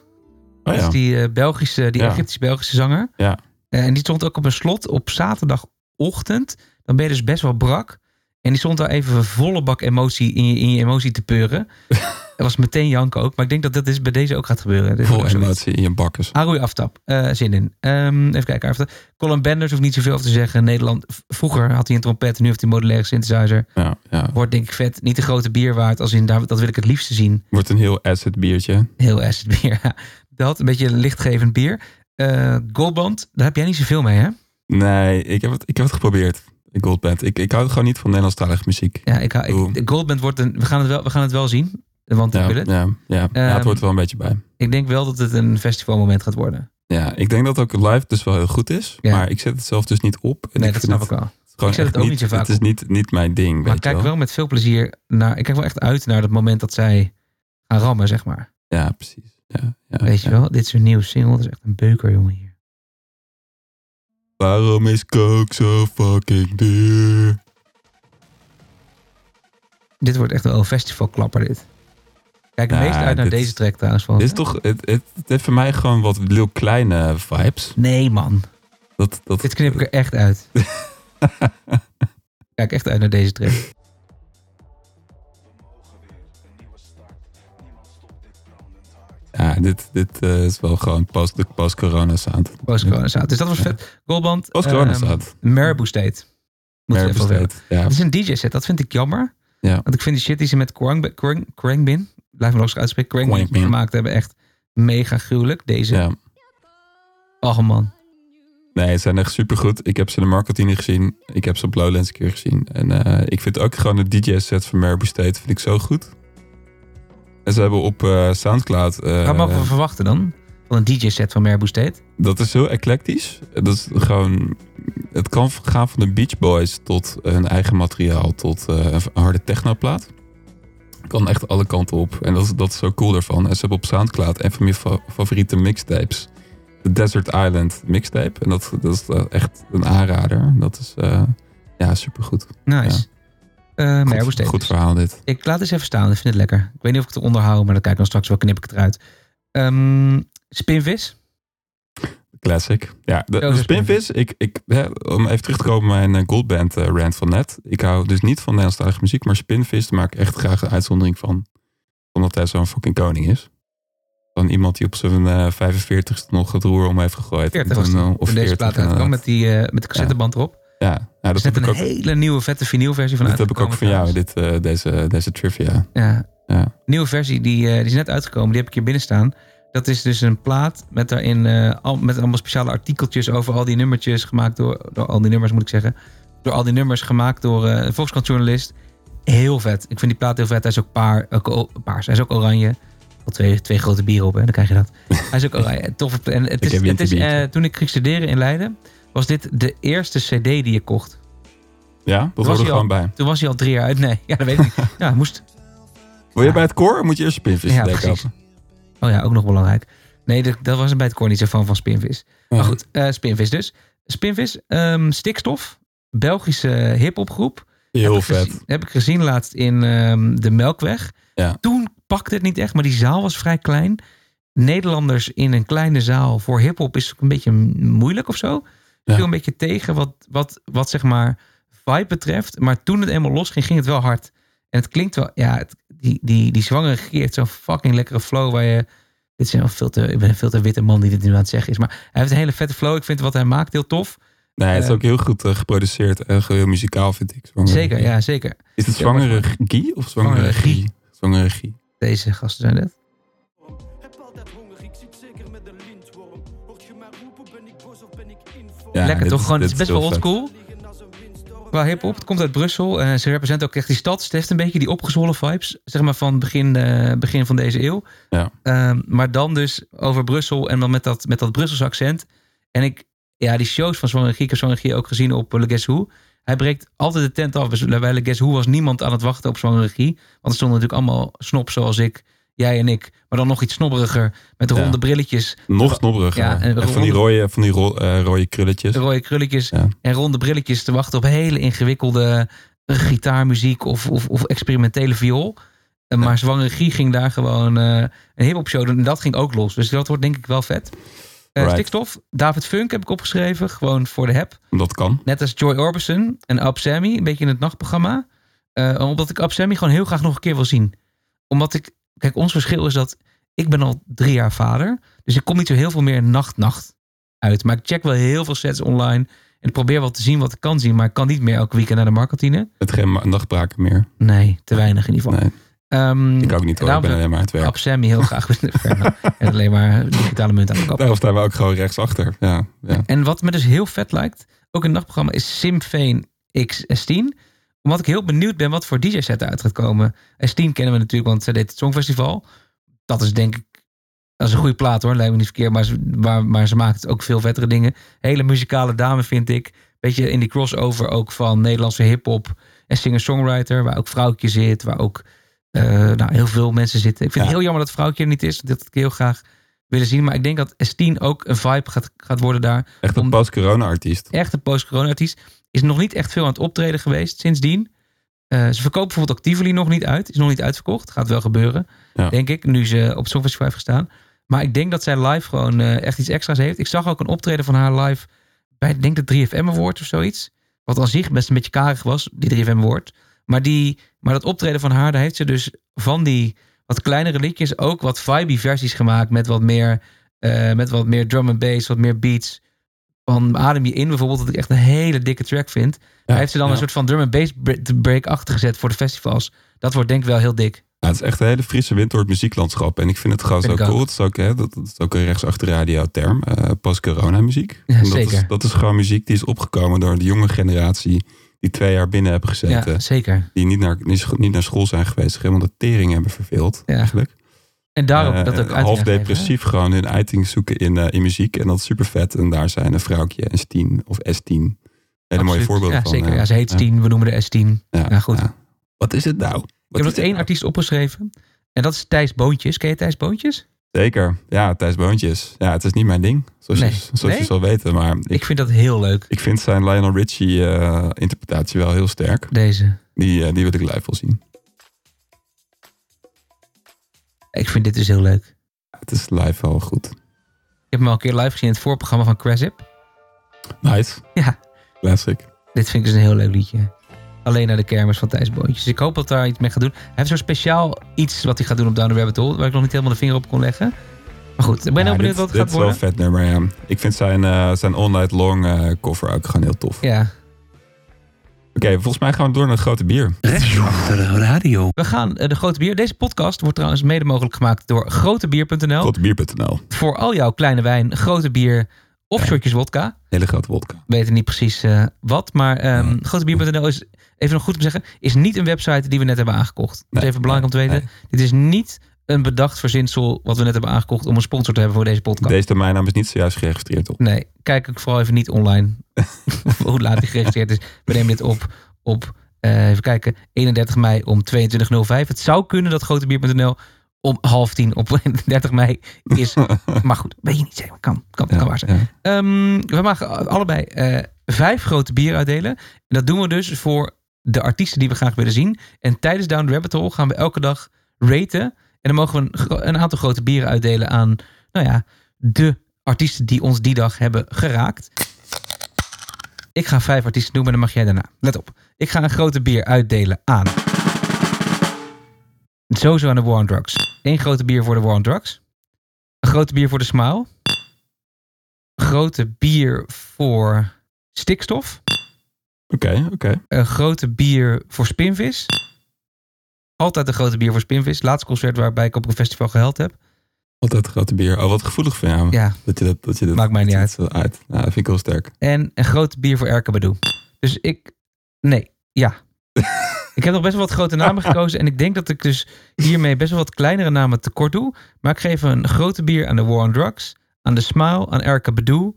Speaker 1: Dat is
Speaker 2: ja.
Speaker 1: die eh, Belgische, die
Speaker 2: Ja.
Speaker 1: Egyptisch-Belgische zanger.
Speaker 2: Ja.
Speaker 1: Eh, en die stond ook op een slot op zaterdagochtend. Dan ben je dus best wel brak. En die stond daar even volle bak emotie in je, in je emotie te
Speaker 2: [laughs]
Speaker 1: peuren. Dat was meteen janken ook. Maar ik denk dat dat is bij deze ook gaat gebeuren. Dit is
Speaker 2: Vol
Speaker 1: ook zoiets.
Speaker 2: emotie in je bakkes.
Speaker 1: Haroui Aftap, eh, zin in. Ehm, even kijken, Aftap. Colin Benders hoeft niet zoveel over te zeggen. Nederland, v- vroeger had hij een trompet, nu heeft hij een modulaire synthesizer.
Speaker 2: Ja, ja.
Speaker 1: Wordt denk ik vet. Niet de grote bier waard, als in, daar- dat wil ik het liefste zien.
Speaker 2: Wordt een heel acid biertje.
Speaker 1: Heel acid bier. [laughs] ja. Dat, een beetje een lichtgevend bier. Eh Goldband, daar heb jij niet zoveel mee, hè?
Speaker 2: Nee, ik heb het, ik heb het geprobeerd. Ik goldband. Ik, ik hou gewoon niet van Nederlandstalige muziek.
Speaker 1: Ja, ik, hou-
Speaker 2: Oeh.
Speaker 1: ik, Goldband wordt een... We gaan het wel, we gaan het wel zien, want ik
Speaker 2: Ja,
Speaker 1: wil het.
Speaker 2: ja, ja. Ja,
Speaker 1: Ehm,
Speaker 2: het hoort er wel een beetje bij.
Speaker 1: Ik denk wel dat het een festivalmoment gaat worden.
Speaker 2: Ja, ik denk dat ook live dus wel heel goed is.
Speaker 1: Ja.
Speaker 2: Maar ik zet het zelf dus niet op. En
Speaker 1: Nee,
Speaker 2: ik
Speaker 1: dat
Speaker 2: vind
Speaker 1: snap
Speaker 2: het
Speaker 1: ik wel.
Speaker 2: gewoon
Speaker 1: Ik zet
Speaker 2: echt
Speaker 1: het ook niet zo vaak
Speaker 2: Het is
Speaker 1: op.
Speaker 2: niet, niet mijn ding,
Speaker 1: Maar ik
Speaker 2: weet je
Speaker 1: kijk
Speaker 2: wel.
Speaker 1: wel met veel plezier naar... Ik kijk wel echt uit naar dat moment dat zij gaan rammen, zeg maar.
Speaker 2: Ja, precies. Ja, ja,
Speaker 1: Weet je
Speaker 2: ja.
Speaker 1: wel, dit is een nieuwe single. Dat is echt een beuker, jongen, hier.
Speaker 2: Waarom is coke zo fucking duur?
Speaker 1: Dit wordt echt wel een festivalklapper, dit. Kijk het
Speaker 2: Nou,
Speaker 1: meest uit naar
Speaker 2: dit-
Speaker 1: deze track trouwens. Van,
Speaker 2: Dit is toch, het, het, het heeft voor mij gewoon wat Lil Kleine vibes.
Speaker 1: Nee, man.
Speaker 2: Dat, dat,
Speaker 1: Dit knip ik er echt
Speaker 2: [laughs]
Speaker 1: uit. Kijk echt uit naar deze trip.
Speaker 2: Ja, dit, dit eh, is wel gewoon post, de post-corona sound.
Speaker 1: Post-corona staat. Dus dat was vet. Goldband.
Speaker 2: Post-corona
Speaker 1: ehm,
Speaker 2: sound.
Speaker 1: Marabou State. Moet je even
Speaker 2: Nervous
Speaker 1: over hebben.
Speaker 2: State, Ja,
Speaker 1: Het is een DJ-set. Dat vind ik jammer.
Speaker 2: Ja.
Speaker 1: Want ik vind die shit die ze met Krangbin... Krang, Krangbin blijf me lastig uitspreken. Krangbin
Speaker 2: Krangbin.
Speaker 1: gemaakt hebben. Echt mega gruwelijk. Deze.
Speaker 2: ja.
Speaker 1: Oh man.
Speaker 2: Nee, ze zijn echt supergoed. Ik heb ze in de marketing gezien. Ik heb ze op Lowlands een keer gezien. En eh, ik vind ook gewoon de DJ-set van Marabou State vind ik zo goed. En ze hebben op eh, Soundcloud... eh,
Speaker 1: Wat mogen we verwachten dan? Van een DJ-set van Marabou State.
Speaker 2: Dat is heel eclectisch. Dat is gewoon, het kan gaan van de Beach Boys tot eh, hun eigen materiaal, tot eh, een harde technoplaat. Kan echt alle kanten op. En dat is, dat is zo cool daarvan. En ze hebben op Soundcloud een van mijn fa- favoriete mixtapes. De Desert Island mixtape. En dat, dat is eh, echt een aanrader. Dat is eh, ja, supergoed.
Speaker 1: Nice. Eh Marabou
Speaker 2: Goed,
Speaker 1: State.
Speaker 2: goed
Speaker 1: dus.
Speaker 2: verhaal dit.
Speaker 1: Ik laat eens even staan. Ik vind het lekker. Ik weet niet of ik het onderhoud, maar dan kijk ik dan straks wel knip ik het eruit. Ehm, Spinvis.
Speaker 2: Classic. Ja, de,
Speaker 1: Zo
Speaker 2: de
Speaker 1: is
Speaker 2: Spinvis. Ik, ik, hè, om even terug te komen op mijn eh, Goldband eh, rant van net. Ik hou dus niet van Nederlandstalige muziek, maar Spinvis, daar maak ik echt graag een uitzondering van. Omdat hij zo'n fucking koning is. Van iemand die op zijn eh 45ste nog het roer om heeft gegooid.
Speaker 1: 40
Speaker 2: En
Speaker 1: was
Speaker 2: toen, eh,
Speaker 1: die.
Speaker 2: of
Speaker 1: Toen deze
Speaker 2: 40
Speaker 1: plaat uitkwam
Speaker 2: inderdaad.
Speaker 1: met, die, eh, met de cassetteband erop.
Speaker 2: Ja, nou, dat
Speaker 1: Er
Speaker 2: heb
Speaker 1: is net
Speaker 2: ik ook,
Speaker 1: een hele nieuwe vette vinylversie van
Speaker 2: dat heb ik ook van jou,
Speaker 1: uitgekomen
Speaker 2: dit, eh, deze, deze trivia.
Speaker 1: trouwens. Ja.
Speaker 2: Ja.
Speaker 1: Nieuwe versie, die, eh, die is net uitgekomen. Die heb ik hier binnen staan. Dat is dus een plaat met daarin eh, al, met allemaal speciale artikeltjes over al die nummertjes gemaakt door, door al die nummers moet ik zeggen. Door al die nummers gemaakt door eh, een Volkskrant-journalist. Heel vet. Ik vind die plaat heel vet. Hij is ook paar, ook o- paars. Hij is ook oranje. Al twee, twee grote bieren op, hè? dan krijg je
Speaker 2: [laughs]
Speaker 1: dat. Hij is ook oranje. Tof. En het is,
Speaker 2: Ik heb
Speaker 1: het is,
Speaker 2: winterbiertje.
Speaker 1: eh, toen ik ging studeren in Leiden, was dit de eerste cd die je kocht.
Speaker 2: Ja,
Speaker 1: hij
Speaker 2: dat hoort er
Speaker 1: al-
Speaker 2: gewoon bij.
Speaker 1: Toen was hij al drie jaar uit. Nee, [laughs] ja, dat weet ik niet. Ja, hij moest.
Speaker 2: Wil je bij het koor? Moet je eerst spinvis
Speaker 1: Ja,
Speaker 2: dek
Speaker 1: precies.
Speaker 2: kappen?
Speaker 1: Oh ja, ook nog belangrijk. Nee, dat, dat was er bij het koor niet zo van, van Spinvis. Maar goed, eh, Spinvis dus. Spinvis, ehm, Stikstof, Belgische eh, hiphopgroep.
Speaker 2: Heel
Speaker 1: Heb ik
Speaker 2: vet.
Speaker 1: gezien- Heb ik gezien laatst in ehm, de Melkweg.
Speaker 2: Ja.
Speaker 1: Toen pakte het niet echt, maar die zaal was vrij klein. Nederlanders in een kleine zaal voor hiphop is ook een beetje moeilijk of zo.
Speaker 2: Ja.
Speaker 1: Ik viel een beetje tegen wat, wat, wat zeg maar vibe betreft. Maar toen het eenmaal losging, ging het wel hard. En het klinkt wel, ja, het- die, die, die zwangere geert, zo'n fucking lekkere flow waar je... Dit zijn wel veel te, ik ben een veel te witte man die dit nu aan het zeggen is. Maar hij heeft een hele vette flow. Ik vind wat hij maakt heel tof.
Speaker 2: Nee, het is
Speaker 1: Eh,
Speaker 2: ook heel goed eh, geproduceerd en heel muzikaal, vind ik. eh, Zwangere
Speaker 1: Zeker,
Speaker 2: Guy.
Speaker 1: ja, zeker.
Speaker 2: Is het zwangere Guy of zwangere
Speaker 1: Zwangere Guy.
Speaker 2: Guy? Zwangere Guy.
Speaker 1: Deze gasten zijn dat.
Speaker 4: Heb altijd honger, ik zit zeker met een lintworm. Hoort je mij roepen, ben ik boos of ben ik info?
Speaker 2: Ja,
Speaker 1: Lekker
Speaker 2: dit
Speaker 1: toch?
Speaker 2: is-
Speaker 1: Gewoon, het is
Speaker 2: dit is
Speaker 1: best wel
Speaker 2: heel vet.
Speaker 1: oldschool.
Speaker 4: Liggen als een windstorm.
Speaker 1: Qua hip-hop, het komt uit Brussel. en ze representen ook echt die stad. Het heeft een beetje die opgezwollen vibes, zeg maar van begin, eh, begin van deze eeuw.
Speaker 2: Ja.
Speaker 1: Ehm, maar dan dus over Brussel en dan met dat, met dat Brusselse accent. En ik, ja, die shows van Zwangere Giek heb Zwangere Giek ook gezien op eh, Le Guess Who. Hij breekt altijd de tent af. Dus Bij Le Guess Who was niemand aan het wachten op Zwangere Giek. Want er stonden natuurlijk allemaal snop zoals ik, jij en ik. Maar dan nog iets snobberiger, met
Speaker 2: Ja.
Speaker 1: ronde brilletjes,
Speaker 2: Nog snobberiger.
Speaker 1: Ja, en
Speaker 2: en van die rode, van die ro- eh, rode krulletjes.
Speaker 1: rode krulletjes
Speaker 2: Ja.
Speaker 1: en ronde brilletjes te wachten op hele ingewikkelde eh, gitaarmuziek of, of, of experimentele viool. Eh, Maar Zwangere Guy ging daar gewoon eh, een hip-hop show doen en dat ging ook los. Dus dat wordt denk ik wel vet. Eh,
Speaker 2: Right.
Speaker 1: Stikstof, David Funk heb ik opgeschreven, gewoon voor de heb.
Speaker 2: Dat kan.
Speaker 1: Net als Joy Orbison en Ab Sammy, een beetje in het nachtprogramma. Eh, omdat ik Ab Sammy gewoon heel graag nog een keer wil zien. Omdat ik, kijk, ons verschil is dat ik ben al drie jaar vader. Dus ik kom niet zo heel veel meer nacht-nacht uit. Maar ik check wel heel veel sets online. En ik probeer wel te zien wat ik kan zien. Maar ik kan niet meer elke weekend naar de marktkantine.
Speaker 2: Het geen ma- nachtbraken meer.
Speaker 1: Nee, te weinig in ieder geval.
Speaker 2: Nee,
Speaker 1: Ehm,
Speaker 2: ik ook niet hoor. Ik
Speaker 1: daarom
Speaker 2: ben
Speaker 1: zou-
Speaker 2: alleen maar aan het werk.
Speaker 1: Ab Sammy heel graag. [laughs] en alleen maar digitale munt aan de kap.
Speaker 2: Daarom staan we ook gewoon rechtsachter. Ja, ja.
Speaker 1: En wat me dus heel vet lijkt, ook in het nachtprogramma, is Simfeen X10. Omdat ik heel benieuwd ben wat voor DJ-set eruit gaat komen. S10 kennen we natuurlijk, want zij deed het Songfestival. Dat is denk ik, dat is een goede plaat hoor, lijkt me niet verkeerd. Maar ze, maar, maar ze maakt ook veel vettere dingen. Hele muzikale dame vind ik. Beetje in die crossover ook van Nederlandse hip-hop en singer-songwriter. Waar ook Vrouwtje zit, waar ook eh, nou, heel veel mensen zitten. Ik vind het
Speaker 2: Ja.
Speaker 1: heel jammer dat Vrouwtje er niet is. Dat had ik heel graag willen zien. Maar ik denk dat S10 ook een vibe gaat, gaat worden daar
Speaker 2: Echt een
Speaker 1: Om-
Speaker 2: post-corona-artiest.
Speaker 1: echt een post-corona-artiest. Is nog niet echt veel aan het optreden geweest sindsdien. Eh, ze verkopen bijvoorbeeld ook Tivoli nog niet uit. Is nog niet uitverkocht. Gaat wel gebeuren,
Speaker 2: Ja.
Speaker 1: denk ik. Nu ze op het Songfestival heeft gestaan. Maar ik denk dat zij live gewoon eh, echt iets extra's heeft. Ik zag ook een optreden van haar live bij, ik denk de 3FM Award of zoiets. Wat aan zich best een beetje karig was, die 3FM Award. Maar, die, maar dat optreden van haar, daar heeft ze dus van die wat kleinere liedjes ook wat vibey versies gemaakt. Met wat meer, eh, met wat meer drum and bass, wat meer beats. Van Adem je in bijvoorbeeld, dat ik echt een hele dikke track vind. Hij heeft ze dan
Speaker 2: ja.
Speaker 1: een soort van drum and bass bre- break achtergezet voor de festivals. Dat wordt denk ik wel heel dik.
Speaker 2: Ja, het is echt een hele frisse wind door het muzieklandschap. En ik vind het gewoon
Speaker 1: Vind
Speaker 2: zo
Speaker 1: ik ook.
Speaker 2: cool. Het is ook, hè, dat, dat is ook een rechtsachter radio term. eh Post-corona muziek.
Speaker 1: Ja,
Speaker 2: En dat,
Speaker 1: zeker.
Speaker 2: Is, dat is gewoon muziek die is opgekomen door de jonge generatie. Die twee jaar binnen hebben gezeten.
Speaker 1: Ja, zeker.
Speaker 2: Die niet naar, niet scho- niet naar school zijn geweest. zich Helemaal de tering hebben verveeld.
Speaker 1: Ja.
Speaker 2: Eigenlijk.
Speaker 1: En daarop
Speaker 2: Eh,
Speaker 1: dat ook
Speaker 2: en
Speaker 1: uit.
Speaker 2: half depressief gewoon hun uiting zoeken in, eh, in muziek. En dat is super vet. En daar zijn een vrouwtje en Stien of S10. Hele mooie voorbeelden
Speaker 1: ja,
Speaker 2: van.
Speaker 1: Zeker.
Speaker 2: eh,
Speaker 1: Ja, ze heet
Speaker 2: ja.
Speaker 1: Stien, we noemen de S10.
Speaker 2: ja,
Speaker 1: Ja, goed.
Speaker 2: ja. Wat is het nou?
Speaker 1: Ik heb
Speaker 2: Wat
Speaker 1: nog
Speaker 2: is het
Speaker 1: één
Speaker 2: nou?
Speaker 1: artiest opgeschreven. En dat is Thijs Boontjes. Ken je Thijs Boontjes?
Speaker 2: Zeker. Ja, Thijs Boontjes. Ja, het is niet mijn ding. Zoals,
Speaker 1: Nee.
Speaker 2: je, zoals
Speaker 1: Nee?
Speaker 2: je zal weten. Maar ik,
Speaker 1: Ik vind dat heel leuk,
Speaker 2: ik vind zijn Lionel Richie eh, interpretatie wel heel sterk.
Speaker 1: deze.
Speaker 2: Die, eh, die wil ik live wel zien.
Speaker 1: Ik vind dit dus heel leuk.
Speaker 2: Het is live wel goed.
Speaker 1: Ik heb hem al een keer live gezien in het voorprogramma van Crasip.
Speaker 2: Nice.
Speaker 1: Ja.
Speaker 2: Classic.
Speaker 1: Dit vind ik dus een heel leuk liedje. Alleen naar de kermis van Thijs Boontjes. Dus ik hoop dat daar iets mee gaat doen. Hij heeft zo'n speciaal iets wat hij gaat doen op Down the Rabbit Hole. Waar ik nog niet helemaal de vinger op kon leggen. Maar goed, ik ben
Speaker 2: Ja,
Speaker 1: heel benieuwd
Speaker 2: dit,
Speaker 1: wat het
Speaker 2: dit
Speaker 1: gaat
Speaker 2: is wel een
Speaker 1: worden.
Speaker 2: vet nummer, ja. Ik vind zijn, eh, zijn All Night Long eh, cover ook gewoon heel tof.
Speaker 1: Ja,
Speaker 2: Oké, volgens mij gaan we door naar de grote bier.
Speaker 3: Rechts achter de radio.
Speaker 1: we gaan eh, de Grote Bier. Deze podcast wordt trouwens mede mogelijk gemaakt door grotebier.nl.
Speaker 2: Grotebier.nl.
Speaker 1: Voor al jouw kleine wijn, grote bier of
Speaker 2: Ja.
Speaker 1: shotjes wodka.
Speaker 2: Hele grote wodka.
Speaker 1: weten niet precies eh, wat. Maar ehm grotebier.nl is, even nog goed om te zeggen, is niet een website die we net hebben aangekocht. Dat is
Speaker 2: Nee,
Speaker 1: even belangrijk om te weten. Dit is niet een bedacht verzinsel wat we net hebben aangekocht om een sponsor te hebben voor deze podcast.
Speaker 2: Deze domeinnaam is niet zojuist geregistreerd op. [laughs]
Speaker 1: Nee, kijk ook vooral even niet online. Of hoe laat die geregistreerd is. We nemen dit op op, eh, even kijken, 31 mei om 22.05. Het zou kunnen dat grotebier.nl om half tien op [laughs] 30 mei
Speaker 2: [laughs]
Speaker 1: is. Maar goed, weet je niet zeker. Kan, kan, kan waar zijn.
Speaker 2: Ja.
Speaker 1: Ehm, we mogen allebei eh, vijf grote bier uitdelen. En dat doen we dus voor de artiesten die we graag willen zien. En tijdens Down the Rabbit Hole gaan we elke dag raten. En dan mogen we een, gro- een aantal grote bieren uitdelen aan, nou ja, de artiesten die ons die dag hebben geraakt. Ik ga vijf artiesten noemen en dan mag jij daarna. Let op. Ik ga een grote bier uitdelen aan. Sowieso aan de War on Drugs. Eén grote bier voor de War on Drugs. Een grote bier voor de Smile grote bier voor stikstof.
Speaker 2: Oké, oké.
Speaker 1: Een grote bier voor spinvis. Altijd een grote bier voor spinvis. Laatste concert waarbij ik op een festival geheld heb.
Speaker 2: Altijd grote bier. Oh, wat gevoelig van jou.
Speaker 1: Ja,
Speaker 2: Dat je dat, dat je dat
Speaker 1: maakt mij niet uit.
Speaker 2: dat zo uit. Nou, dat vind ik heel sterk.
Speaker 1: En een grote bier voor Erke Badoe. Dus ik... Nee, ja. ik heb nog best wel wat grote namen gekozen. En ik denk dat ik dus hiermee best wel wat kleinere namen tekort doe. Maar ik geef een grote bier aan de War on Drugs. Aan de Smile, aan Erke Badoe.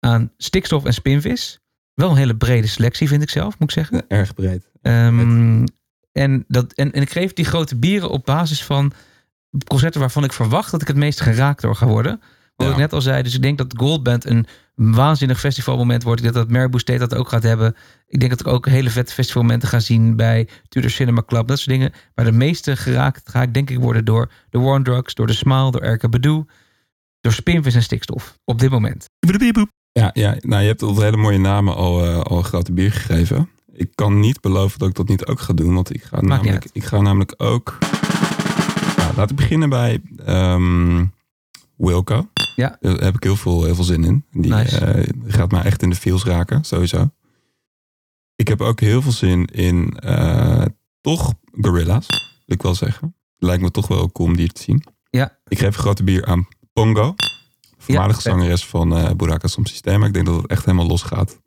Speaker 1: Aan stikstof en spinvis. Wel een hele brede selectie vind ik zelf, moet ik zeggen.
Speaker 2: Ja, Erg breed.
Speaker 1: Ehm, en, dat, en, en ik geef die grote bieren op basis van concerten waarvan ik verwacht dat ik het meest geraakt door ga worden. Wat
Speaker 2: Ja.
Speaker 1: ik net al zei, dus ik denk dat Goldband een waanzinnig festivalmoment wordt. Ik denk dat Marabou State dat ook gaat hebben. Ik denk dat ik ook hele vette festivalmomenten ga zien bij Tudor Cinema Club. Dat soort dingen. Maar de meeste geraakt ga ik denk ik worden door de War on Drugs, door de Smile, door Erka Badu, door Spinvis en Stikstof. Op dit moment.
Speaker 2: Ja, ja, nou, je hebt al hele mooie namen al, eh, al een grote bier gegeven. Ik kan niet beloven dat ik dat niet ook ga doen, want ik ga,
Speaker 1: niet
Speaker 2: namelijk, ik ga namelijk ook... Nou, laten we beginnen bij ehm, Wilco.
Speaker 1: Ja.
Speaker 2: Daar heb ik heel veel, heel veel zin in. Die
Speaker 1: Nice.
Speaker 2: eh, gaat mij echt in de feels raken, sowieso. Ik heb ook heel veel zin in eh, toch Gorilla's, wil ik wel zeggen. Lijkt me toch wel cool om die te zien.
Speaker 1: Ja.
Speaker 2: Ik geef een grote bier aan Pongo. Voormalige
Speaker 1: vet.
Speaker 2: zangeres van eh Buraka Som Systeem. Ik denk dat het echt helemaal los gaat.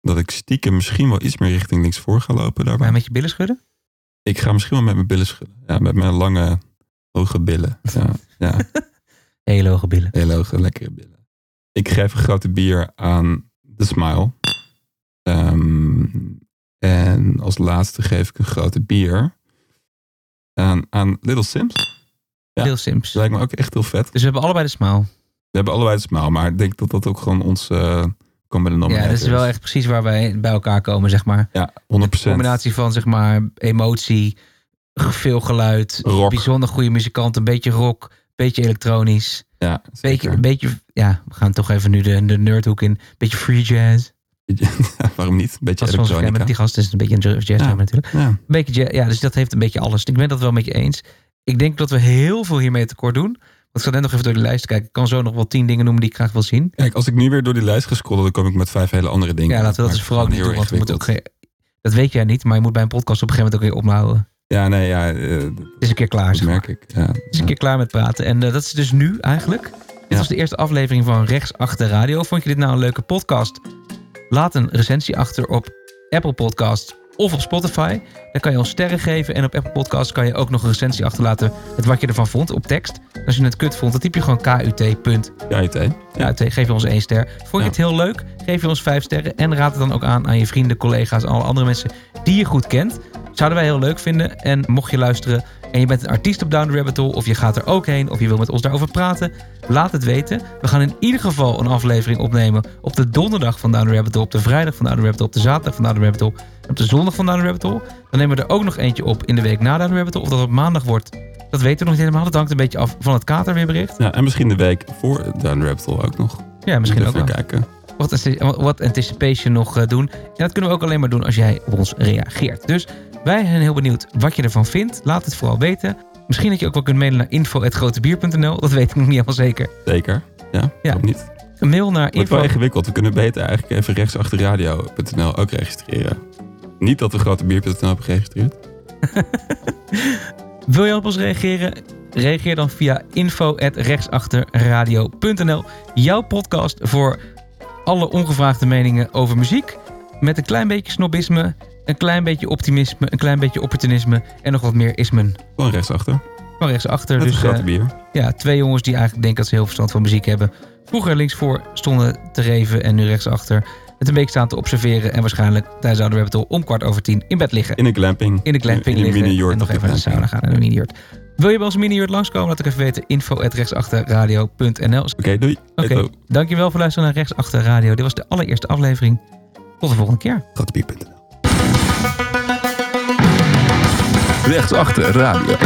Speaker 2: Dat ik stiekem misschien wel iets meer richting links voor ga lopen daarbij.
Speaker 1: Maar met je billen schudden?
Speaker 2: Ik ga misschien wel met mijn billen schudden. Ja, met mijn lange, hoge
Speaker 1: [laughs]
Speaker 2: billen. Ja, ja.
Speaker 1: Hele hoge billen.
Speaker 2: Hele hoge, lekkere billen. Ik geef een grote bier aan de Smile. Ehm, en als laatste geef ik een grote bier aan, aan Little Sims. Ja.
Speaker 1: Lil Sims.
Speaker 2: Dat lijkt me ook echt heel vet.
Speaker 1: Dus we hebben allebei de Smile.
Speaker 2: We hebben allebei de Smile, maar ik denk dat dat ook gewoon ons... eh kan bij de
Speaker 1: Ja,
Speaker 2: nominator
Speaker 1: dat is wel echt precies waar wij bij elkaar komen, zeg maar.
Speaker 2: Ja, 100
Speaker 1: Combinatie van, zeg maar, emotie, g- veel geluid,
Speaker 2: Rock.
Speaker 1: bijzonder goede muzikant, een beetje rock, een beetje elektronisch,
Speaker 2: Ja,
Speaker 1: een beetje,
Speaker 2: zeker.
Speaker 1: een beetje, ja, we gaan toch even nu de, de nerdhoek in, een beetje free jazz.
Speaker 2: Ja, waarom niet? Een beetje [laughs]
Speaker 1: Dat is van zo'n
Speaker 2: elektronica.
Speaker 1: met die gast is een beetje een jazz
Speaker 2: Ja.
Speaker 1: natuurlijk.
Speaker 2: Ja,
Speaker 1: Een beetje jazz, ja, dus dat heeft een beetje alles. Ik ben dat wel met je eens. Ik denk dat we heel veel hiermee tekort doen. Want ik zat net nog even door de lijst te kijken. Ik kan zo nog wel tien dingen noemen die ik graag wil zien.
Speaker 2: kijk, als ik nu weer door die lijst ga scrollen, dan kom ik met vijf hele andere dingen.
Speaker 1: Ja, laten we dat
Speaker 2: Maar
Speaker 1: dus vooral ook niet
Speaker 2: gewoon
Speaker 1: doen. Want we
Speaker 2: heel
Speaker 1: moeten ook
Speaker 2: ingewikkeld.
Speaker 1: geen- dat weet jij niet, maar je moet bij een podcast op een gegeven moment ook weer ophouden.
Speaker 2: Ja, nee, ja, eh, dat-
Speaker 1: Het is een keer klaar.
Speaker 2: dat
Speaker 1: Zeg maar.
Speaker 2: merk ik. Ja,
Speaker 1: Het is een keer klaar met praten. En eh, dat is dus nu eigenlijk. Dit
Speaker 2: Ja.
Speaker 1: was de eerste aflevering van Rechts Achter Radio. Vond je dit nou een leuke podcast? Laat een recensie achter op Apple Podcast of op Spotify. Dan kan je ons sterren geven. En op Apple Podcast kan je ook nog een recensie achterlaten met wat je ervan vond op tekst. En als je het kut vond, dan typ je gewoon KUT. punt
Speaker 2: Ja, IT.
Speaker 1: ja.
Speaker 2: Ja.
Speaker 1: uit. Geef je ons één ster. Vond je
Speaker 2: Ja.
Speaker 1: het heel leuk? Geef je ons vijf sterren. En raad het dan ook aan aan je vrienden, collega's en alle andere mensen die je goed kent. Zouden wij heel leuk vinden. En mocht je luisteren en je bent een artiest op Down the Rabbit Hole... of je gaat er ook heen of je wil met ons daarover praten... laat het weten. We gaan in ieder geval een aflevering opnemen... op de donderdag van Down the Rabbit Hole... op de vrijdag van Down the Rabbit Hole... op de zaterdag van Down the Rabbit Hole... en op de zondag van Down the Rabbit Hole. Dan nemen we er ook nog eentje op in de week na Down the Rabbit Hole. Of dat op maandag wordt, dat weten we nog niet helemaal. Dat hangt een beetje af van het katerweerbericht.
Speaker 2: Ja, en misschien de week voor Down the Rabbit Hole ook nog.
Speaker 1: Ja, misschien
Speaker 2: Moet
Speaker 1: ook
Speaker 2: even
Speaker 1: wel.
Speaker 2: kijken.
Speaker 1: Wat anti- What Anticipation nog eh, doen. En dat kunnen we ook alleen maar doen als jij op ons reageert. Dus wij zijn heel benieuwd wat je ervan vindt. Laat het vooral weten. Misschien dat je ook wel kunt mailen naar info.grotebier.nl. Dat weet ik nog niet helemaal zeker.
Speaker 2: Zeker. Ja,
Speaker 1: Ja.
Speaker 2: ja. niet.
Speaker 1: Een mail naar
Speaker 2: Wordt
Speaker 1: info...
Speaker 2: wel ingewikkeld. We kunnen beter eigenlijk even rechtsachteradio.nl ook registreren. Niet dat we grotebier.nl hebben geregistreerd.
Speaker 1: Wil je op ons reageren? Reageer dan via info.rechtsachterradio.nl. Jouw podcast voor alle ongevraagde meningen over muziek. Met een klein beetje snobisme, een klein beetje optimisme, een klein beetje opportunisme en nog wat meer ismen.
Speaker 2: Gewoon rechtsachter.
Speaker 1: Van rechtsachter.
Speaker 2: Met
Speaker 1: dus,
Speaker 2: een
Speaker 1: eh,
Speaker 2: grote bier.
Speaker 1: Ja, twee jongens die eigenlijk denken dat ze heel verstand van muziek hebben. Vroeger linksvoor stonden te reven en nu rechtsachter. het een week staan te observeren en waarschijnlijk tijdens de Oude om kwart over tien in bed liggen.
Speaker 2: In een glamping.
Speaker 1: In de glamping
Speaker 2: In een
Speaker 1: liggen
Speaker 2: mini-jort
Speaker 1: en nog
Speaker 2: op de
Speaker 1: even naar de sauna
Speaker 2: glamping.
Speaker 1: gaan en een mini-jurt. Wil je bij ons mini-jurt langskomen? Laat ik even weten. Info at rechtsachterradio.nl
Speaker 2: Oké, doei.
Speaker 1: Oké,
Speaker 2: Eto,
Speaker 1: dankjewel voor luisteren naar Rechtsachter Radio. Dit was de allereerste aflevering. Tot de volgende keer.
Speaker 2: grotebier.nl.
Speaker 5: Rechtsachter Radio.